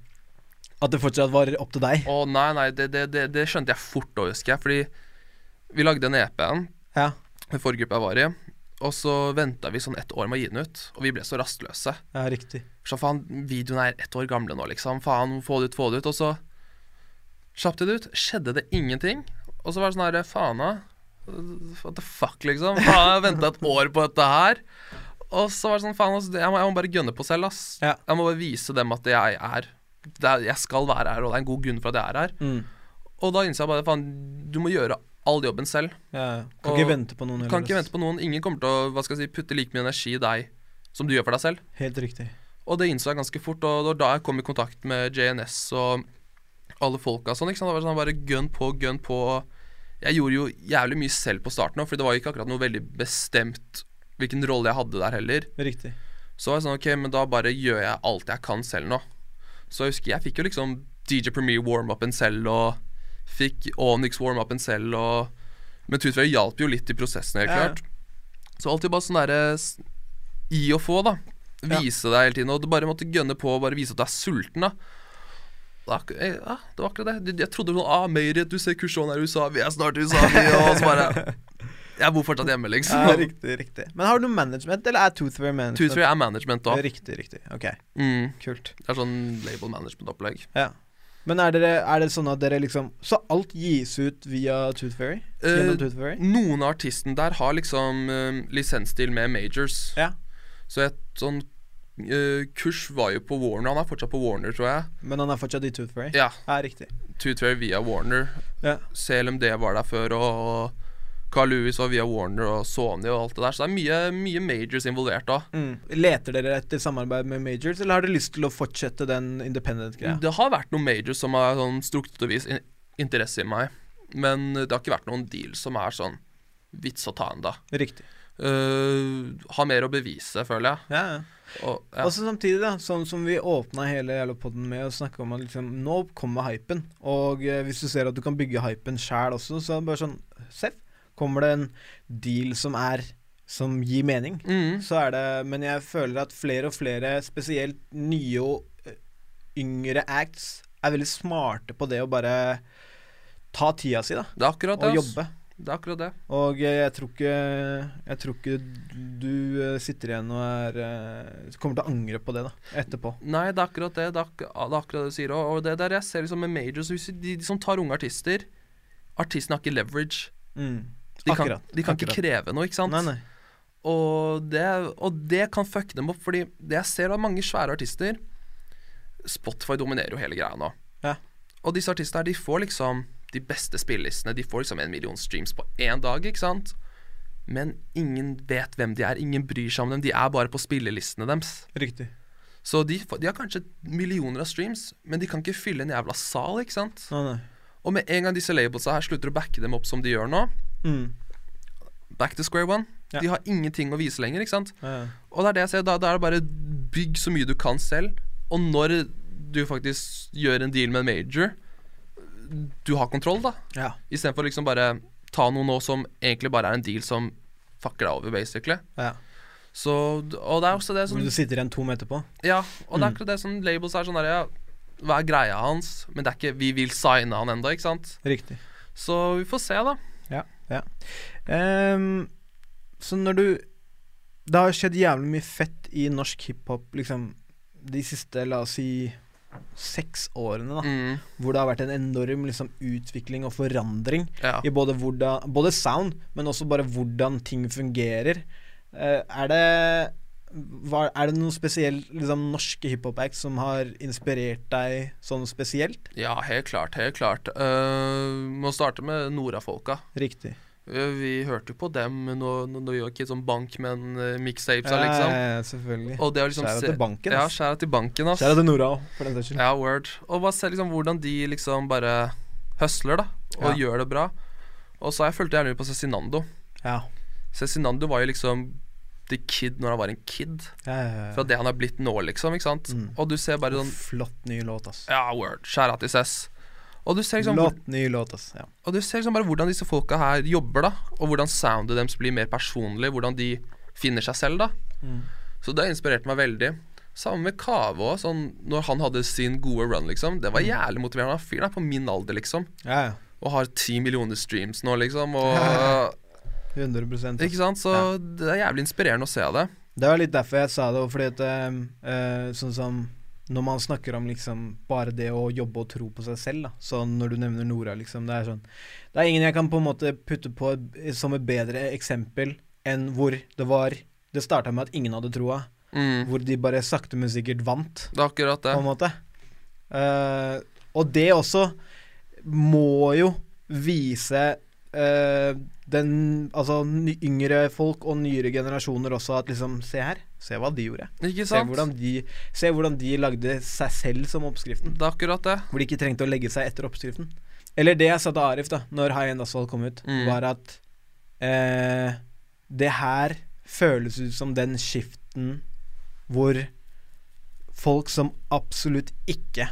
Speaker 1: At det fortsatt var opp til deg?
Speaker 2: Å nei, nei, det, det, det, det skjønte jeg fort da, husker jeg. Fordi vi lagde en EP-en,
Speaker 1: Ja.
Speaker 2: den forrige gruppa jeg var i. Og så venta vi sånn ett år med å gi den ut, og vi ble så rastløse.
Speaker 1: Ja, riktig.
Speaker 2: Så faen, videoene er ett år gamle nå, liksom. Faen, få det ut, få det ut. Og så slapp de det ut. Skjedde det ingenting. Og så var det sånn her, faen da. What the fuck, liksom. Faen, jeg venta et år på dette her. Og så var det sånn, faen, ass, jeg må, jeg må bare gønne på selv, ass.
Speaker 1: Ja.
Speaker 2: Jeg må bare vise dem at jeg er det er, Jeg skal være her, og det er en god grunn for at jeg er her.
Speaker 1: Mm.
Speaker 2: Og da innså jeg bare, faen, du må gjøre all jobben selv.
Speaker 1: Ja, ja. kan
Speaker 2: Og-
Speaker 1: ikke vente på noen.
Speaker 2: Du kan ikke vente på noen. Ingen kommer til å hva skal jeg si, putte like mye energi i deg som du gjør for deg selv.
Speaker 1: Helt riktig.
Speaker 2: Og det innså jeg ganske fort, og det var da jeg kom i kontakt med JNS og alle folka og sånn. ikke sant? Det var sånn bare gønn på, gønn på. Jeg gjorde jo jævlig mye selv på starten òg, for det var jo ikke akkurat noe veldig bestemt hvilken rolle jeg hadde der heller.
Speaker 1: Riktig.
Speaker 2: Så var jeg sånn, ok, men da bare gjør jeg alt jeg kan selv nå. Så jeg husker jeg fikk jo liksom DJ Premier warm-upen selv, og fikk Onyx warm-upen selv, og Men Tutfjell hjalp jo litt i prosessen, helt
Speaker 1: Ja, ja.
Speaker 2: klart. Så alltid bare sånn derre s- i å få, da.
Speaker 1: Ja.
Speaker 2: Vise deg hele tiden, og du bare måtte gønne på og bare vise at du er sulten, da. Det var, akkur- eh, ja, det var akkurat det. Du- Jeg trodde sånn ah, Merit, du ser kursjonen er i USA, vi er snart i USA, vi, og så bare Jeg bor fortsatt hjemme,
Speaker 1: Ja,
Speaker 2: liksom.
Speaker 1: riktig, riktig. Men har du noe management, eller er Toothwear management?
Speaker 2: Tutfjell er management, da.
Speaker 1: Riktig, riktig. Ok,
Speaker 2: Mm.
Speaker 1: kult.
Speaker 2: Det er sånn label management-opplegg.
Speaker 1: Ja. Men er, dere, er det sånn at dere liksom Så alt gis ut via Tooth Fairy?
Speaker 2: Eh,
Speaker 1: Gjennom Tooth Fairy?
Speaker 2: Noen av artistene der har liksom eh, lisensstil med majors.
Speaker 1: Ja.
Speaker 2: Så et sånn eh, kurs var jo på Warner. Han er fortsatt på Warner, tror jeg.
Speaker 1: Men han er fortsatt i Tooth Fairy?
Speaker 2: Ja,
Speaker 1: Ja, riktig.
Speaker 2: Tutway via Warner.
Speaker 1: Ja.
Speaker 2: CLMD var der før, og, og Carl Lewis var via Warner og Sony og alt det der. Så det er mye, mye majors involvert da.
Speaker 1: Mm. Leter dere etter samarbeid med majors, eller har dere lyst til å fortsette den independent-greia?
Speaker 2: Det har vært noen majors som har sånn strukturvis in interesse i meg, men det har ikke vært noen deal som er sånn vits å ta ennå.
Speaker 1: Riktig.
Speaker 2: Uh, har mer å bevise, føler jeg.
Speaker 1: Ja, ja.
Speaker 2: Og, ja.
Speaker 1: Også samtidig, da, sånn som vi åpna hele jævla podden med å snakke om at liksom, nå kommer hypen. Og eh, hvis du ser at du kan bygge hypen sjæl også, så er det bare sånn Seff, kommer det en deal som er Som gir mening,
Speaker 2: Mm.
Speaker 1: så er det Men jeg føler at flere og flere, spesielt nye og eh, yngre acts, er veldig smarte på det å bare ta tida si, da.
Speaker 2: Det er akkurat
Speaker 1: Og
Speaker 2: det. ass.
Speaker 1: jobbe.
Speaker 2: Det er akkurat det.
Speaker 1: Og eh, jeg tror ikke Jeg tror ikke du eh, sitter igjen og er eh, Kommer til å angre på det, da. Etterpå.
Speaker 2: Nei, det er akkurat det. Det er, akkur det er akkurat det du sier. Og og det der jeg ser liksom med majors hvis de, de som tar unge artister Artistene har ikke leverage.
Speaker 1: Mm.
Speaker 2: De kan,
Speaker 1: Akkurat,
Speaker 2: de kan
Speaker 1: akkurat.
Speaker 2: ikke kreve noe, ikke sant?
Speaker 1: Nei, nei.
Speaker 2: Og, det, og det kan fucke dem opp, fordi det jeg ser av mange svære artister Spotify dominerer jo hele greia nå.
Speaker 1: Ja.
Speaker 2: Og disse artistene her, de får liksom de beste spillelistene. De får liksom en million streams på én dag, ikke sant? Men ingen vet hvem de er. Ingen bryr seg om dem. De er bare på spillelistene deres.
Speaker 1: Riktig.
Speaker 2: Så de, får- de har kanskje millioner av streams, men de kan ikke fylle en jævla sal, ikke sant?
Speaker 1: Nei, nei.
Speaker 2: Og med en gang disse labelsa her slutter å backe dem opp som de gjør nå,
Speaker 1: Mm.
Speaker 2: back to square one.
Speaker 1: Ja.
Speaker 2: De har ingenting å vise lenger, ikke sant?
Speaker 1: Ja, ja.
Speaker 2: Og det er det jeg ser, da, da er det bare bygg så mye du kan selv, og når du faktisk gjør en deal med en major, du har kontroll, da.
Speaker 1: ja.
Speaker 2: Istedenfor liksom bare ta noe nå som egentlig bare er en deal som fucker deg over, basically.
Speaker 1: ja.
Speaker 2: Så, og det er også det som
Speaker 1: Men du Mm. sitter igjen tom etterpå?
Speaker 2: Ja, og det er akkurat det som labels er sånn der, ja, Hva er greia hans? Men det er ikke 'vi vil signe han ennå', ikke sant?
Speaker 1: Riktig.
Speaker 2: Så vi får se, da.
Speaker 1: Ja. ja. Ehm, så når du Det har skjedd jævlig mye fett i norsk hiphop liksom de siste, la oss si, seks årene, da.
Speaker 2: Mm,
Speaker 1: Hvor det har vært en enorm liksom, utvikling og forandring.
Speaker 2: ja.
Speaker 1: i både, hvordan, både sound, men også bare hvordan ting fungerer. Eh, er det hva, Er det noen spesiell liksom, norske hiphop-act som har inspirert deg sånn spesielt?
Speaker 2: ja, helt klart. Helt klart. Eh, må starte med Norafolka.
Speaker 1: Riktig.
Speaker 2: Eh, Vi hørte jo på dem når, når vi var kids, sånn Bankmenn-mixtapesa,
Speaker 1: Ja, ja,
Speaker 2: liksom.
Speaker 1: ja, Eh, selvfølgelig.
Speaker 2: Og det å liksom
Speaker 1: Skjæra til banken.
Speaker 2: Ja,
Speaker 1: ass.
Speaker 2: skjæra til banken, ass.
Speaker 1: Skjæra til Nora òg, for den saks skyld.
Speaker 2: Ja, word. Og bare se liksom hvordan de liksom bare høsler, da. Og gjør det bra. Og så har jeg fulgt gjerne med på Cezinando.
Speaker 1: Ja.
Speaker 2: Cezinando var jo liksom the kid når han var en kid.
Speaker 1: Ja, ja,
Speaker 2: Fra
Speaker 1: ja.
Speaker 2: det han har blitt nå, liksom. ikke sant?
Speaker 1: Mm.
Speaker 2: Og du ser bare sånn
Speaker 1: Flott ny låt, ass.
Speaker 2: Ja, word. Skjæra til Cess. Og du, ser liksom, hvor-
Speaker 1: Flott ny låt, ass. Ja.
Speaker 2: og du ser liksom bare hvordan disse folka her jobber, da. Og hvordan soundet deres blir mer personlig. Hvordan de finner seg selv, da.
Speaker 1: Mm.
Speaker 2: Så det inspirerte meg veldig. Samme med Kave òg. Sånn, når han hadde sin gode run, liksom. Det var
Speaker 1: Mm.
Speaker 2: jævlig motiverende. Han fyren er på min alder, liksom.
Speaker 1: ja, ja.
Speaker 2: Og har ti millioner streams nå, liksom. Og,
Speaker 1: 100 ass.
Speaker 2: ikke sant? Så det er jævlig inspirerende å se det.
Speaker 1: Det var litt derfor jeg sa det, og fordi at eh, eh, sånn som når man snakker om liksom bare det å jobbe og tro på seg selv, da. Så når du nevner Nora, liksom, det er sånn Det er ingen jeg kan på en måte putte på som et bedre eksempel enn hvor det var Det starta med at ingen hadde troa,
Speaker 2: Mm.
Speaker 1: hvor de bare sakte, men sikkert vant,
Speaker 2: Det er akkurat
Speaker 1: på en
Speaker 2: det.
Speaker 1: måte. Eh, og det også må jo vise eh, den Altså ny- yngre folk og nyere generasjoner også at liksom Se her, se hva de gjorde.
Speaker 2: Ikke
Speaker 1: Se
Speaker 2: sant?
Speaker 1: hvordan, de, se hvordan de lagde seg selv som oppskriften.
Speaker 2: Det er akkurat det.
Speaker 1: Hvor de ikke trengte å legge seg etter oppskriften. Eller det jeg sa til Arif da Når High End Asphalt kom ut,
Speaker 2: Mm.
Speaker 1: var at eh, det her føles ut som den skiften hvor folk som absolutt ikke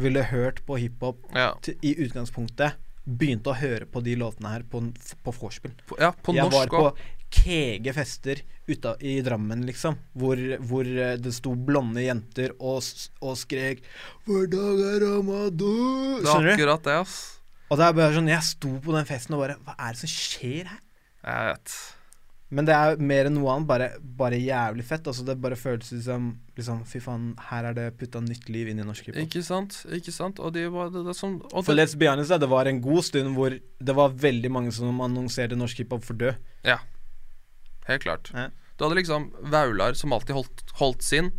Speaker 1: ville hørt på hiphop
Speaker 2: Ja.
Speaker 1: til- i utgangspunktet, begynte å høre på de låtene her på, på vorspiel.
Speaker 2: På, ja, på
Speaker 1: jeg
Speaker 2: norsk
Speaker 1: var
Speaker 2: òg.
Speaker 1: på kege fester uta, i Drammen, liksom. Hvor, hvor eh, det sto blonde jenter og, s- og skrek 'Hver dag er ramadan'.
Speaker 2: Det er
Speaker 1: Skjønner du?
Speaker 2: akkurat det, ass.
Speaker 1: Og det er bare sånn, jeg sto på den festen og bare Hva er det som skjer her?
Speaker 2: Jeg vet.
Speaker 1: Men det er mer enn noe annet bare, bare jævlig fett. Altså Det bare føles ut som liksom, Fy faen, her er det putta nytt liv inn i norsk hiphop.
Speaker 2: Ikke sant? Ikke sant? Og det var det, det som og
Speaker 1: For
Speaker 2: det,
Speaker 1: let's be honest, da, det var en god stund hvor det var veldig mange som annonserte norsk hiphop for død.
Speaker 2: Helt klart.
Speaker 1: Ja.
Speaker 2: Du hadde liksom Vaular som alltid holdt, holdt sin,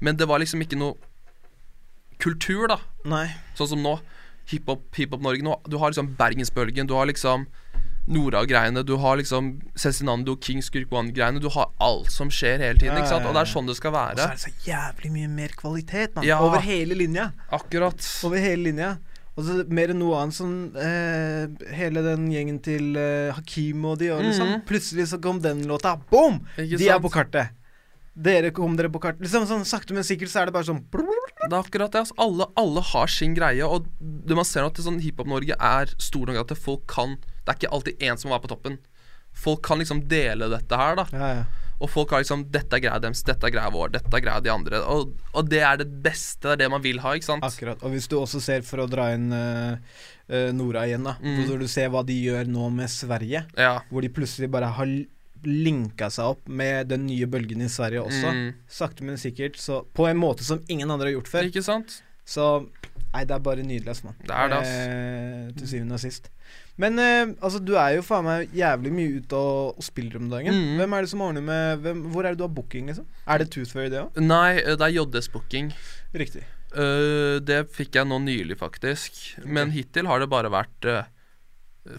Speaker 2: men det var liksom ikke noe kultur, da.
Speaker 1: Nei.
Speaker 2: Sånn som nå. Hiphop-Norge nå. Du har liksom Bergensbølgen, du har liksom Nora-greiene, du har liksom Cezinando, Kings Gurk One-greiene. Du har alt som skjer hele tiden,
Speaker 1: Ja,
Speaker 2: ikke sant? Og
Speaker 1: ja, ja.
Speaker 2: det er sånn det skal
Speaker 1: Og så
Speaker 2: være.
Speaker 1: er det så jævlig mye mer kvalitet, mann.
Speaker 2: Ja.
Speaker 1: Over hele linja.
Speaker 2: Akkurat.
Speaker 1: Over hele linja. Og så mer enn noe annet sånn eh, Hele den gjengen til eh, Hakim og de og liksom.
Speaker 2: Mhm.
Speaker 1: Plutselig så kom den låta. Boom!
Speaker 2: Ikke
Speaker 1: De er
Speaker 2: sant?
Speaker 1: på kartet. Dere kom dere på kartet. Liksom sånn sakte, men sikkert så er det bare sånn
Speaker 2: Det er akkurat det. Altså. Alle, alle har sin greie, og det man ser nå at det sånn Hiphop-Norge er stor nok at folk kan Det er ikke alltid én som er på toppen. Folk kan liksom dele dette her, da.
Speaker 1: Ja, ja.
Speaker 2: Og folk har liksom 'Dette er greia deres, dette er greia vår, dette er greia de andre'. Og, og det er det beste. Det er det man vil ha, ikke sant?
Speaker 1: Akkurat. Og hvis du også ser, for å dra inn eh, eh, Nora igjen, da
Speaker 2: Mm.
Speaker 1: Når du ser hva de gjør nå med Sverige,
Speaker 2: Ja.
Speaker 1: hvor de plutselig bare har l- linka seg opp med den nye bølgen i Sverige også.
Speaker 2: Mm.
Speaker 1: Sakte, men sikkert. Så på en måte som ingen andre har gjort før.
Speaker 2: Ikke sant?
Speaker 1: Så Nei, det er bare nydelig, ass, mann.
Speaker 2: Det er det, ass.
Speaker 1: Eh, til syvende og sist. Men eh, altså, du er jo faen meg jævlig mye ute og, og spiller om dagen.
Speaker 2: Mm.
Speaker 1: Hvem er det som ordner med hvem, Hvor er det du har booking, liksom? Er det Toothfairy, det òg?
Speaker 2: Nei, det er JS-booking.
Speaker 1: Riktig.
Speaker 2: Øh, det fikk jeg nå nylig, faktisk. Men hittil har det bare vært øh,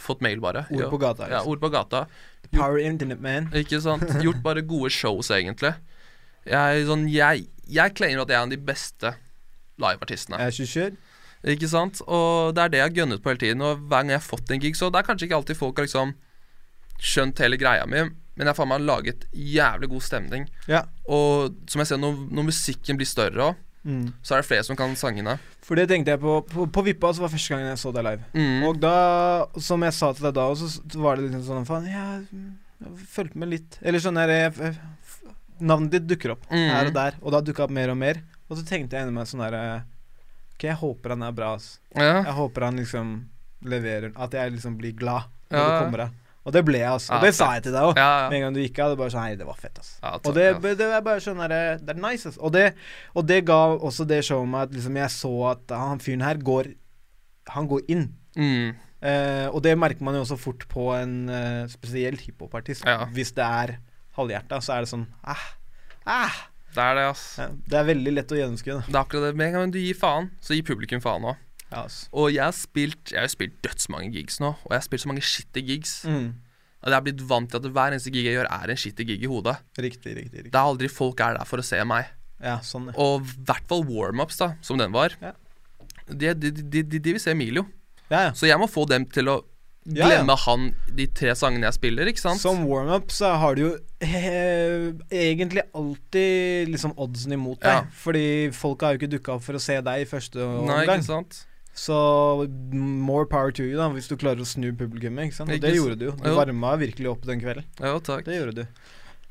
Speaker 2: Fått mail, bare.
Speaker 1: Ord på gata.
Speaker 2: ja,
Speaker 1: Liksom.
Speaker 2: ord på gata.
Speaker 1: Power Internet Man.
Speaker 2: Ikke sant? Gjort bare gode shows, egentlig. Jeg, sånn, jeg, jeg claimer at jeg er en av de beste liveartistene.
Speaker 1: Jeg er 27.
Speaker 2: Ikke sant? Og det er det jeg har gunnet på hele tiden. Og hver gang jeg har fått en gig, så det er kanskje ikke alltid folk har liksom skjønt hele greia mi, men jeg har faen meg laget jævlig god stemning.
Speaker 1: Ja.
Speaker 2: Og som jeg ser, når, når musikken blir større òg,
Speaker 1: Mm.
Speaker 2: så er det flere som kan sangene.
Speaker 1: For det tenkte jeg på. På, på Vippa så var første gangen jeg så deg live.
Speaker 2: Mm.
Speaker 1: Og da, som jeg sa til deg da også, så var det liksom sånn faen Jeg, jeg fulgte med litt. Eller sånn her jeg- jeg- Navnet ditt dukker opp
Speaker 2: Mhm.
Speaker 1: her og der, og da dukka opp mer og mer. Og så tenkte jeg inni meg sånn herre Ok, jeg håper han er bra, ass.
Speaker 2: Ja.
Speaker 1: Jeg håper han liksom leverer At jeg liksom blir glad når
Speaker 2: Ja,
Speaker 1: det
Speaker 2: ja.
Speaker 1: kommer av. Og det ble jeg, ass. Og
Speaker 2: Ja,
Speaker 1: det
Speaker 2: fett.
Speaker 1: sa jeg til deg òg.
Speaker 2: Ja,
Speaker 1: Med
Speaker 2: ja.
Speaker 1: en gang du gikk av, det bare sånn Hei, det var fett, ass.
Speaker 2: ja takk,
Speaker 1: Og det,
Speaker 2: ja.
Speaker 1: det er bare sånn derre Det er nice, ass. Og det, og det ga også det showet meg at liksom jeg så at han fyren her går Han går inn.
Speaker 2: Mm.
Speaker 1: Eh, og det merker man jo også fort på en eh, spesielt hiphopartist.
Speaker 2: Ja.
Speaker 1: Hvis det er halvhjerta, så er det sånn ah, ah.
Speaker 2: Det er det, ass.
Speaker 1: Ja, Det er veldig lett å gjennomskue. da.
Speaker 2: Det er akkurat det. Med en gang du gir faen, så gir publikum faen òg.
Speaker 1: Ja, ass.
Speaker 2: Og jeg har spilt Jeg har jo spilt dødsmange gigs nå, og jeg har spilt så mange shitty gigs.
Speaker 1: Mm.
Speaker 2: At jeg har blitt vant til at hver eneste gig jeg gjør, er en shitty gig i hodet.
Speaker 1: Riktig, riktig. riktig
Speaker 2: Det er aldri folk er der for å se meg.
Speaker 1: Ja, sånn, ja.
Speaker 2: Og i hvert fall warm-ups, da, som den var.
Speaker 1: Ja.
Speaker 2: De, de, de, de, de vil se Emilio.
Speaker 1: ja, ja.
Speaker 2: Så jeg må få dem til å
Speaker 1: Ja, ja.
Speaker 2: glemme han de tre sangene jeg spiller, ikke sant?
Speaker 1: Som warm-up så har du jo eh, egentlig alltid liksom oddsen imot deg.
Speaker 2: Ja.
Speaker 1: Fordi folk har jo ikke dukka opp for å se deg i første
Speaker 2: Nei,
Speaker 1: omgang.
Speaker 2: ikke sant?
Speaker 1: Så mm, more power to you, da, hvis du klarer å snu publikummet. ikke sant? Og
Speaker 2: Ikke
Speaker 1: det
Speaker 2: s-
Speaker 1: gjorde du jo. Du
Speaker 2: Jo.
Speaker 1: varma virkelig opp den kvelden.
Speaker 2: Ja, takk.
Speaker 1: Det gjorde du.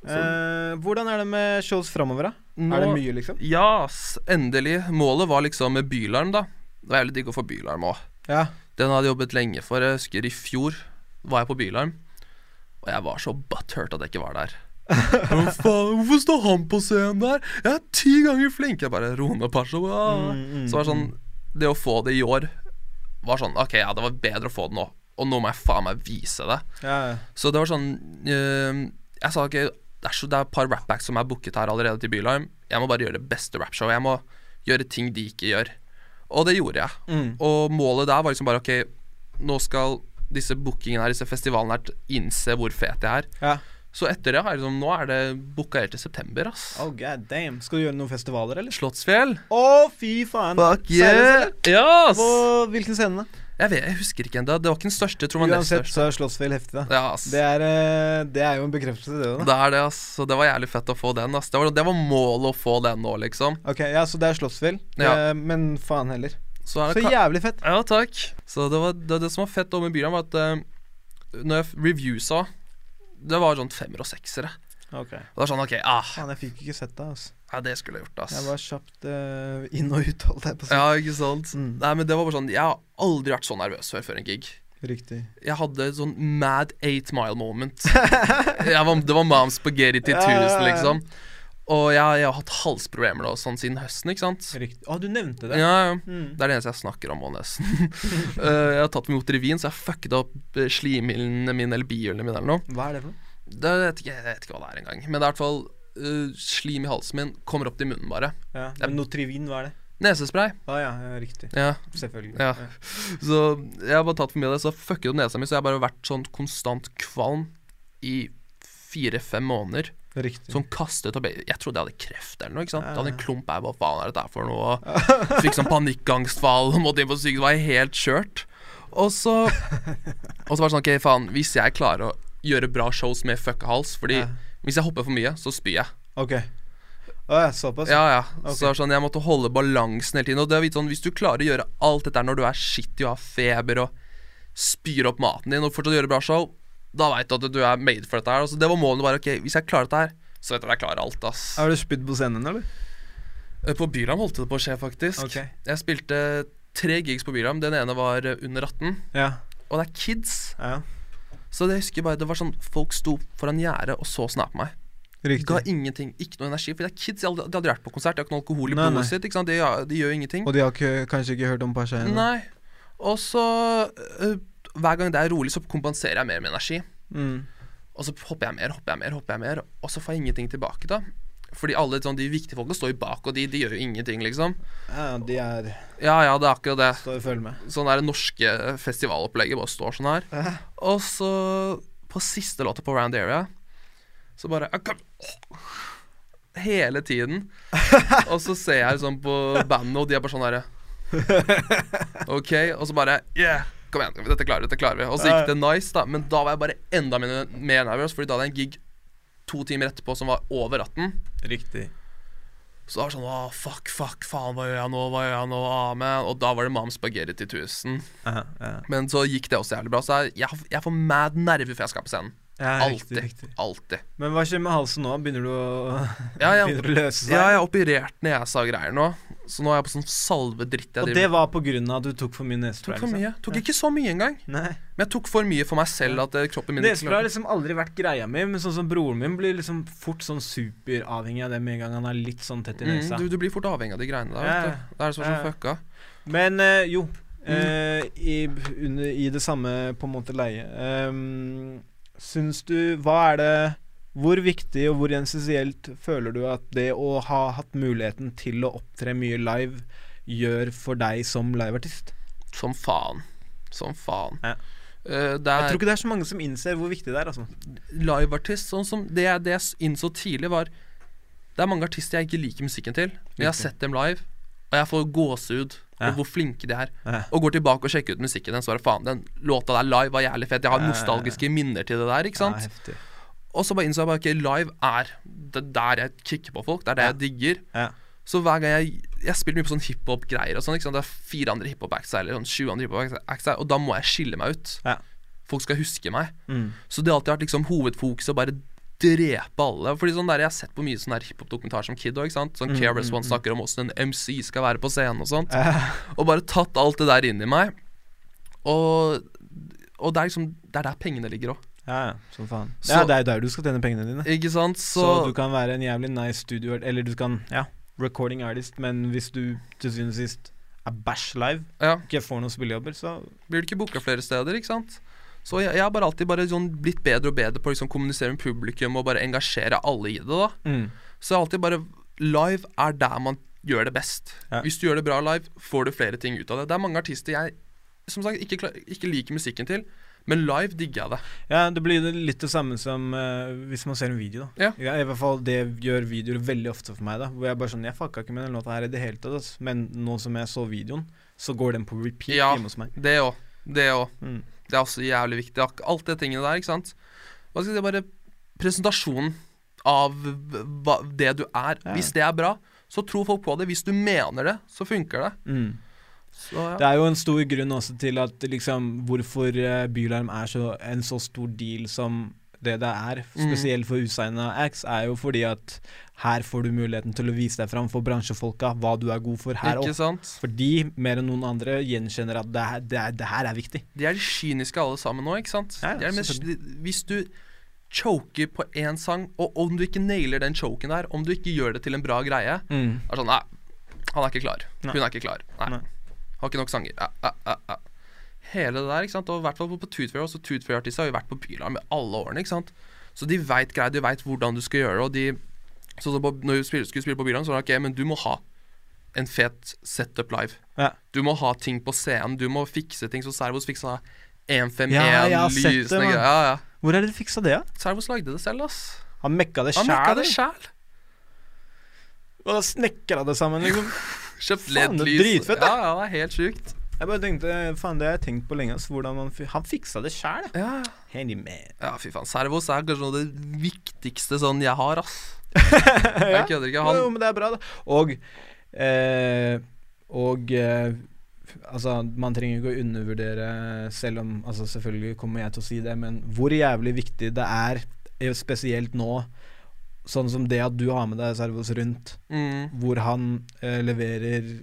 Speaker 1: Eh, hvordan er det med shows framover, da?
Speaker 2: Nå-
Speaker 1: Er det mye, liksom?
Speaker 2: Ja, s- endelig. Målet var liksom med bylarm, da. Det var jævlig digg å få bylarm òg.
Speaker 1: Ja.
Speaker 2: Den hadde jeg jobbet lenge for. Jeg husker i fjor var jeg på Bylarm, og jeg var så butthurt at jeg ikke var der. Hva faen, hvorfor står han på scenen der? Jeg er ti ganger flink! Jeg bare ro ned, Pasha. wow.
Speaker 1: Mm, mm,
Speaker 2: Så var det sånn Det å få det i år var sånn Ok, ja, det var bedre å få det nå, og nå må jeg faen meg vise det.
Speaker 1: Ja, ja.
Speaker 2: Så det var sånn eh, Jeg sa ok, det er, så, det er et par rapbacks som er booket her allerede til Bylarm. Jeg må bare gjøre det beste rapshowet. Jeg må gjøre ting de ikke gjør. Og det gjorde jeg.
Speaker 1: Mm.
Speaker 2: Og målet der var liksom bare OK, nå skal disse bookingene her, disse festivalene her, innse hvor fet jeg er.
Speaker 1: ja.
Speaker 2: Så etter det har jeg liksom Nå er det booka helt til september, ass.
Speaker 1: Oh, god damn. Skal du gjøre noen festivaler, eller?
Speaker 2: Slottsfjell.
Speaker 1: Å, fy faen!
Speaker 2: yeah!
Speaker 1: Seriøst, eller?
Speaker 2: Ja, ass!
Speaker 1: På hvilken scene, da?
Speaker 2: Jeg, vet, jeg husker ikke ennå. Det var ikke den største, jeg tror jeg.
Speaker 1: Uansett så er Slottsfjell heftig, da.
Speaker 2: Ja, ass.
Speaker 1: Det er, eh, det er jo en bekreftelse, det òg, da.
Speaker 2: Det er det, ass. Så det var jævlig fett å få den, ass. Det var, det var målet å få den nå, liksom.
Speaker 1: Ok, ja, Så det er Slottsfjell,
Speaker 2: Ja.
Speaker 1: eh, men faen heller.
Speaker 2: Så
Speaker 1: Så
Speaker 2: er det ka-
Speaker 1: jævlig fett.
Speaker 2: Ja, takk. Så det, var, det, det som var fett om i Byram, var at eh, når jeg f- reviewsa Det var sånn femmer og seksere.
Speaker 1: Ok
Speaker 2: Og det var sånn OK, ah,
Speaker 1: Faen, jeg fikk ikke sett deg, altså.
Speaker 2: ja, det skulle jeg gjort, ass.
Speaker 1: Jeg var kjapt eh, inn og ut, holdt jeg på å si.
Speaker 2: Ja, ikke sant.
Speaker 1: Mm.
Speaker 2: Nei, men det var bare sånn Jeg har aldri vært så nervøs før før en gig.
Speaker 1: Riktig.
Speaker 2: Jeg hadde et sånn mad eight mile moment. jeg var, det var mom spaghetti
Speaker 1: Ja, ja,
Speaker 2: 1000,
Speaker 1: ja.
Speaker 2: liksom. Og jeg, jeg har hatt halsproblemer da, sånn siden høsten, ikke sant?
Speaker 1: Riktig. Å, du nevnte det.
Speaker 2: Ja, ja.
Speaker 1: Mm.
Speaker 2: Det er det eneste jeg snakker om, og nesten. Eh, jeg har tatt imot revyen, så jeg fucket opp eh, slimhinnene mine eller bihulene mine eller noe.
Speaker 1: Hva er det for noe?
Speaker 2: Det, jeg, vet ikke, jeg vet ikke hva det er engang. Men det er i hvert fall eh, slim i halsen min kommer opp til munnen, bare.
Speaker 1: Ja. Men Notrivin, hva er det?
Speaker 2: Nesespray.
Speaker 1: Å ja, ja, riktig.
Speaker 2: Ja.
Speaker 1: Selvfølgelig.
Speaker 2: Ja. Så jeg har bare tatt for mye av det, så har jeg fucket opp nesa mi, så jeg har bare vært sånn konstant kvalm i fire-fem måneder.
Speaker 1: Riktig.
Speaker 2: Som kastet opp Jeg trodde jeg hadde kreft eller noe, ikke sant. Jeg hadde en
Speaker 1: Ja.
Speaker 2: klump her, hva faen er dette her for noe? Og Fikk sånn panikkangstfall og måtte inn på sykehus, var helt kjørt. Og så Og så var det sånn, ok, faen, hvis jeg klarer å gjøre bra shows med fucka hals, fordi
Speaker 1: Ja.
Speaker 2: hvis jeg hopper for mye, så spyr jeg.
Speaker 1: Ok. Å ja, såpass?
Speaker 2: Ja, ja.
Speaker 1: Altså, Ok.
Speaker 2: Så det er sånn, jeg måtte holde balansen hele tiden. Og det er litt sånn, hvis du klarer å gjøre alt dette her når du er skittig og har feber og spyr opp maten din og fortsatt gjøre bra show, da veit du at du er made for dette her. Altså, det var målet bare. Ok, hvis jeg klarer dette her, så vet jeg at jeg klarer alt, ass.
Speaker 1: Har du spydd på scenen, eller?
Speaker 2: Eh, På Byram holdt det på å skje, faktisk.
Speaker 1: Ok.
Speaker 2: Jeg spilte tre gigs på Byram. Den ene var eh, under 18.
Speaker 1: Ja.
Speaker 2: Og det er kids.
Speaker 1: ja.
Speaker 2: Så det husker jeg bare, det var sånn folk sto foran gjerdet og så snap meg. Ga
Speaker 1: Riktig.
Speaker 2: ingenting, ikke noe energi. For det er kids, de har aldri, de har aldri vært på konsert, de har ikke noe alkohol i
Speaker 1: Nei, nei.
Speaker 2: blodet sitt. Ikke sant? De, de gjør jo ingenting.
Speaker 1: Og de har ikke, kanskje ikke hørt om Pasha ennå?
Speaker 2: Nei. Og så øh, Hver gang det er rolig, så kompenserer jeg mer med energi.
Speaker 1: Mm.
Speaker 2: Og så hopper jeg mer, hopper jeg mer, hopper jeg mer, og så får jeg ingenting tilbake, da. Fordi alle sånn, de viktige folka står jo bak, og de, de gjør jo ingenting, liksom.
Speaker 1: Ja, de er
Speaker 2: Ja, ja, det er akkurat det.
Speaker 1: Står og følger med.
Speaker 2: Sånn der norske festivalopplegget bare står sånn her.
Speaker 1: Ja.
Speaker 2: Og så, på siste låta på Round Area, så bare «Ah, kom. Hele tiden. Og så ser jeg sånn på bandet, og de er bare sånn derre OK. Og så bare Yeah! Kom igjen, dette klarer vi. dette klarer vi Og så gikk det nice, da. Men da var jeg bare enda mer mer nervøs, Fordi da hadde jeg en gig to timer etterpå som var over 18.
Speaker 1: Riktig.
Speaker 2: Så da var det sånn Åh, fuck, fuck, faen, hva gjør jeg nå, hva gjør jeg nå, amen. Og da var det Mam Spaghetti 1000.
Speaker 1: Ja, ja.
Speaker 2: Men så gikk det også jævlig bra. Så jeg, jeg, jeg får mad nerver før jeg skal på scenen.
Speaker 1: Ja, riktig,
Speaker 2: Alltid.
Speaker 1: riktig.
Speaker 2: Alltid.
Speaker 1: Men hva skjer med halsen nå? Begynner du å
Speaker 2: Ja, jeg,
Speaker 1: Begynner å løse seg?
Speaker 2: ja, jeg har operert nesa-greier nå, så nå er jeg på sånn salvedritt. Jeg
Speaker 1: Og
Speaker 2: driver
Speaker 1: det
Speaker 2: med.
Speaker 1: var på grunn av at du tok for mye nesespray?
Speaker 2: Tok for
Speaker 1: liksom?
Speaker 2: mye. Tok ikke så mye engang.
Speaker 1: Nei.
Speaker 2: Men jeg tok for mye for meg selv at eh, kroppen min
Speaker 1: Nesespray har
Speaker 2: klarer-
Speaker 1: liksom aldri vært greia mi, men sånn som broren min blir liksom fort sånn superavhengig av det med en gang han er litt sånn tett i
Speaker 2: mm,
Speaker 1: nesa.
Speaker 2: du, du blir fort avhengig av de greiene der.
Speaker 1: Ja,
Speaker 2: Vet du. Det er det som
Speaker 1: ja,
Speaker 2: er så
Speaker 1: ja.
Speaker 2: fucka.
Speaker 1: Men eh, jo,
Speaker 2: Mm.
Speaker 1: eh, i, under, i det samme på en måte leie um, Syns du Hva er det Hvor viktig og hvor essensielt føler du at det å ha hatt muligheten til å opptre mye live, gjør for deg som liveartist?
Speaker 2: Som faen. Som faen.
Speaker 1: Ja.
Speaker 2: Eh,
Speaker 1: Jeg
Speaker 2: det er
Speaker 1: tror ikke det er så mange som innser hvor viktig det er. altså
Speaker 2: liveartist Sånn som det, jeg- det jeg s- innså tidlig, var Det er mange artister jeg ikke liker musikken til, men jeg har
Speaker 1: Riktig.
Speaker 2: sett dem live, og jeg får gåsehud
Speaker 1: Ja.
Speaker 2: over hvor flinke de er.
Speaker 1: Ja.
Speaker 2: Og går tilbake og sjekker ut musikken deres, og bare faen, den låta der live var jævlig fett. Jeg har
Speaker 1: Ja, ja, ja.
Speaker 2: nostalgiske minner til det der, ikke sant?
Speaker 1: Ja, heftig.
Speaker 2: Og så bare innså jeg bare ok, live er det der jeg kicker på folk, det er det
Speaker 1: Ja.
Speaker 2: jeg digger.
Speaker 1: Ja.
Speaker 2: Så hver gang jeg Jeg spiller mye på sånn hiphop-greier og sånn, ikke sant. Det er fire andre hiphop-acts her, eller sånn 20 andre hiphop-acts her, og da må jeg skille meg ut.
Speaker 1: Ja.
Speaker 2: Folk skal huske meg.
Speaker 1: Mm.
Speaker 2: Så det har alltid vært liksom hovedfokuset å bare drepe alle. Fordi sånn der, Jeg har sett på mye sånn der hiphop-dokumentar som kid òg. Sånn
Speaker 1: Mm,
Speaker 2: Careless
Speaker 1: mm,
Speaker 2: One snakker om åssen en MC skal være på scenen og sånt.
Speaker 1: Eh,
Speaker 2: Og bare tatt alt det der inn i meg. Og, og det er liksom Det er der pengene ligger òg.
Speaker 1: ja, ja, som faen.
Speaker 2: Så-
Speaker 1: ja, det er jo der du skal tjene pengene dine.
Speaker 2: Ikke sant?
Speaker 1: Så,
Speaker 2: Så,
Speaker 1: du kan være en jævlig nice studio Eller du kan, ja, recording artist Men hvis du til syvende og sist er bæsj live
Speaker 2: ja,
Speaker 1: Ikke får noen spillejobber, så
Speaker 2: blir du ikke booka flere steder, ikke sant? Så jeg, jeg har bare alltid bare sånn blitt bedre og bedre på å liksom kommunisere med publikum og bare engasjere alle i det, da. Så jeg har alltid bare Live er der man gjør det best.
Speaker 1: Ja.
Speaker 2: Hvis du gjør det bra live, får du flere ting ut av det. Det er mange artister jeg som sagt ikke, klar, ikke liker musikken til, men live digger jeg det.
Speaker 1: Ja, det blir det litt det samme som eh, Hvis man ser en video da
Speaker 2: Ja.
Speaker 1: I hvert fall det gjør videoer veldig ofte for meg da Hvor jeg bare sånn, jeg fucka ikke med den låta her i det hele tatt ass. Men nå som jeg så videoen Så går den på repeat
Speaker 2: Ja.
Speaker 1: hjemme hos meg
Speaker 2: Det òg. Det òg.
Speaker 1: mm.
Speaker 2: Det er også jævlig viktig. Ak- Alt det tingene der, ikke sant. Hva skal jeg si, bare presentasjonen av hva, det du er.
Speaker 1: Ja.
Speaker 2: Hvis det er bra, så tror folk på det. Hvis du mener det, så funker det.
Speaker 1: Mm.
Speaker 2: Så, ja.
Speaker 1: Det er jo en stor grunn også til at liksom, hvorfor eh, Bylarm er så, en så stor deal som det det er,
Speaker 2: Mm.
Speaker 1: spesielt for usigna acts, er jo fordi at her får du muligheten til å vise deg fram for bransjefolka, hva du er god for her
Speaker 2: Ikke
Speaker 1: oppe.
Speaker 2: sant?
Speaker 1: For de, mer enn noen andre, gjenkjenner at det her, det, er- det her er viktig.
Speaker 2: De er de kyniske alle sammen nå, ikke sant?
Speaker 1: Ja, ja,
Speaker 2: de er de mest, de, hvis du choker på én sang, og om du ikke nailer den choken der, om du ikke gjør det til en bra greie er det sånn, Nei, han er ikke klar.
Speaker 1: Nei.
Speaker 2: Hun er ikke klar. Nei.
Speaker 1: Nei.
Speaker 2: Har ikke nok sanger. Ja, ja, ja, ja. Hele det der, ikke sant. Og i hvert fall på, på Toothfairy også. Toothfairy-artister har jo vært på Bylarm i alle årene, ikke sant. Så de veit greier, de veit hvordan du skal gjøre det, og de Sånn som på, når vi spiller- skulle spille på Bylarm, så var det OK, men du må ha en fet setup live.
Speaker 1: Ja.
Speaker 2: Du må ha ting på scenen, du må fikse ting. Så Servos fiksa 151,
Speaker 1: Ja, jeg har sett det,
Speaker 2: lysende
Speaker 1: mann.
Speaker 2: greier. Ja, ja.
Speaker 1: Hvor er det du fiksa det, da?
Speaker 2: Servos lagde det selv, ass.
Speaker 1: Han mekka det
Speaker 2: Han merka
Speaker 1: sjæl.
Speaker 2: det sjæl.
Speaker 1: Og da snekra det sammen, liksom.
Speaker 2: Kjøpt
Speaker 1: Faen, det er
Speaker 2: LED-lys.
Speaker 1: dritfett,
Speaker 2: ja, ja, det er helt sjukt.
Speaker 1: Jeg bare tenkte, faen, det har jeg tenkt på lenge, ass. Hvordan han fi- Han fiksa det sjæl,
Speaker 2: Ja, ja.
Speaker 1: Handyman.
Speaker 2: Ja, fy faen. Servos er kanskje noe av det viktigste sånn jeg har, ass. Jeg kødder ikke.
Speaker 1: Jo,
Speaker 2: Han
Speaker 1: men det er bra, da. Og eh, Og eh, Altså, man trenger ikke å undervurdere, selv om Altså, selvfølgelig kommer jeg til å si det, men hvor jævlig viktig det er, eh, spesielt nå, sånn som det at du har med deg Servos rundt,
Speaker 2: mm,
Speaker 1: hvor han eh, leverer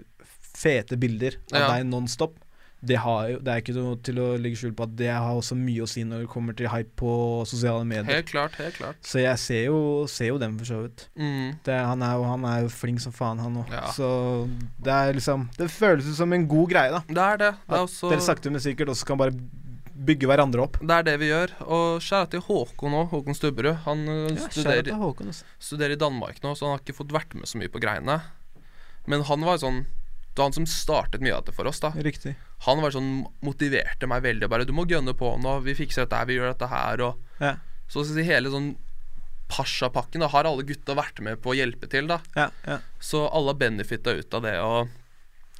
Speaker 1: fete bilder av
Speaker 2: Ja.
Speaker 1: deg nonstop. Det, har jo, det er ikke noe til å legge skjul på at det har også mye å si når det kommer til hype på sosiale medier.
Speaker 2: Helt klart, helt klart.
Speaker 1: Så jeg ser jo, ser jo den for så vidt.
Speaker 2: Mm.
Speaker 1: Det, eh, han, er jo, han er jo flink som faen, han òg.
Speaker 2: Ja.
Speaker 1: Så det er liksom Det føles ut som en god greie, da.
Speaker 2: Det er det. Det er
Speaker 1: At
Speaker 2: også
Speaker 1: Dere sakte, men sikkert også kan bare bygge hverandre opp.
Speaker 2: det er det vi gjør. Og skjæra til Håkon òg, Håkon Stubberud. Han ø,
Speaker 1: kjære
Speaker 2: studerer,
Speaker 1: til Håkon, altså.
Speaker 2: studerer i Danmark nå, så han har ikke fått vært med så mye på greiene. Men han var sånn Det var han som startet mye av det for oss, da.
Speaker 1: Riktig.
Speaker 2: Han var sånn motiverte meg veldig. Bare 'Du må gønne på nå. Vi fikser dette her. Vi gjør dette her.' Og
Speaker 1: Ja.
Speaker 2: så å si hele sånn Pasha-pakken da, har alle gutta vært med på å hjelpe til, da.
Speaker 1: Ja, ja.
Speaker 2: Så alle har benefitta ut av det, og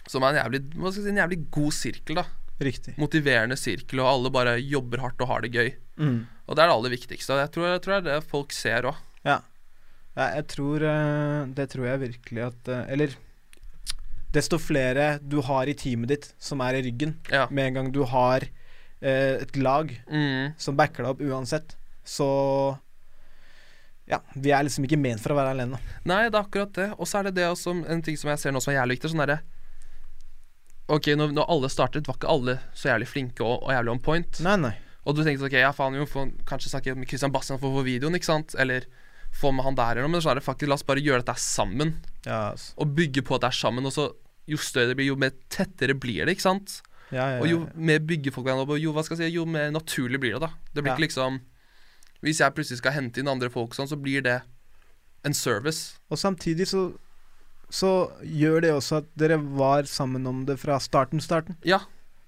Speaker 2: som er en jævlig, hva skal jeg si, en jævlig god sirkel. da
Speaker 1: Riktig.
Speaker 2: Motiverende sirkel, og alle bare jobber hardt og har det gøy.
Speaker 1: Mm.
Speaker 2: Og det er det aller viktigste. og Jeg tror, jeg tror det er det folk ser òg.
Speaker 1: Ja, jeg tror eh, Det tror jeg virkelig at eh, Eller desto flere du har i teamet ditt som er i ryggen,
Speaker 2: Ja.
Speaker 1: med en gang du har eh, et lag
Speaker 2: Mm,
Speaker 1: som backer deg opp uansett, så Ja, vi er liksom ikke ment for å være alene.
Speaker 2: Nei, det er akkurat det. Og så er det det også, en ting som jeg ser nå som er jævlig viktig. Sånn derre Ok, når, når alle startet, var ikke alle så jævlig flinke og, og jævlig on point.
Speaker 1: Nei, nei.
Speaker 2: Og du tenkte ok, ja faen jo, få, kanskje snakke med Christian Bastian for å få videoen, ikke sant? Eller få med han der eller noe, men sånn er det faktisk, la oss bare gjøre dette sammen.
Speaker 1: Ja, altså.
Speaker 2: og bygge på at det er sammen. Og så jo større det blir, jo mer tettere blir det, ikke sant?
Speaker 1: ja, ja,
Speaker 2: Og jo
Speaker 1: ja.
Speaker 2: mer bygger folk hverandre opp, og jo, hva skal jeg si, jo mer naturlig blir det, da. Det blir
Speaker 1: Ja.
Speaker 2: ikke liksom Hvis jeg plutselig skal hente inn andre folk sånn, så blir det en service.
Speaker 1: Og samtidig så, så gjør det også at dere var sammen om det fra starten. starten
Speaker 2: Ja.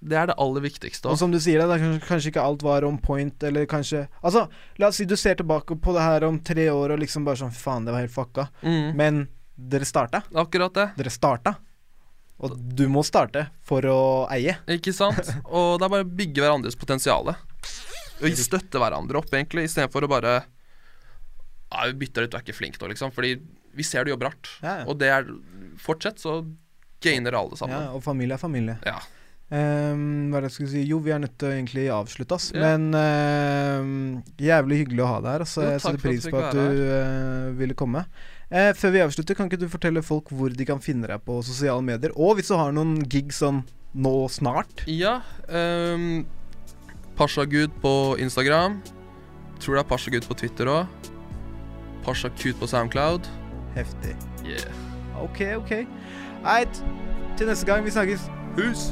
Speaker 2: Det er det aller viktigste.
Speaker 1: Og
Speaker 2: Også.
Speaker 1: som du sier, da, kanskje, kanskje ikke alt var on point, eller kanskje Altså, la oss si du ser tilbake på det her om tre år og liksom bare sånn Faen, det var helt fucka.
Speaker 2: Mm.
Speaker 1: Men dere starta.
Speaker 2: Akkurat det.
Speaker 1: Dere starta. Og du må starte for å eie.
Speaker 2: Ikke sant? Og det er bare å bygge hverandres potensial. Og støtte hverandre opp, egentlig, istedenfor å bare Ja, vi bytter ut, du er ikke flink nå, liksom. Fordi vi ser du jobber hardt.
Speaker 1: Ja, ja.
Speaker 2: Og det er Fortsett, så gainer alle sammen.
Speaker 1: Ja, og familie er familie.
Speaker 2: Ja.
Speaker 1: Ehm, hva er det jeg skulle si? Jo, vi er nødt til å egentlig avslutte, ass.
Speaker 2: Ja.
Speaker 1: Men ehm, jævlig hyggelig å ha deg her. Altså,
Speaker 2: Jo,
Speaker 1: jeg
Speaker 2: takk
Speaker 1: setter
Speaker 2: for at
Speaker 1: pris på
Speaker 2: du fikk
Speaker 1: at
Speaker 2: være
Speaker 1: du eh, ville komme. Eh, før vi avslutter, kan ikke du fortelle folk hvor de kan finne deg på sosiale medier? Og hvis du har noen gig sånn nå snart?
Speaker 2: Ja. Um, Pashagud på Instagram. Tror det er Pashagud på Twitter òg. Pashakut på Soundcloud.
Speaker 1: Heftig.
Speaker 2: Yeah.
Speaker 1: Ok, ok. Eit. Til neste gang. Vi snakkes.
Speaker 2: Hus!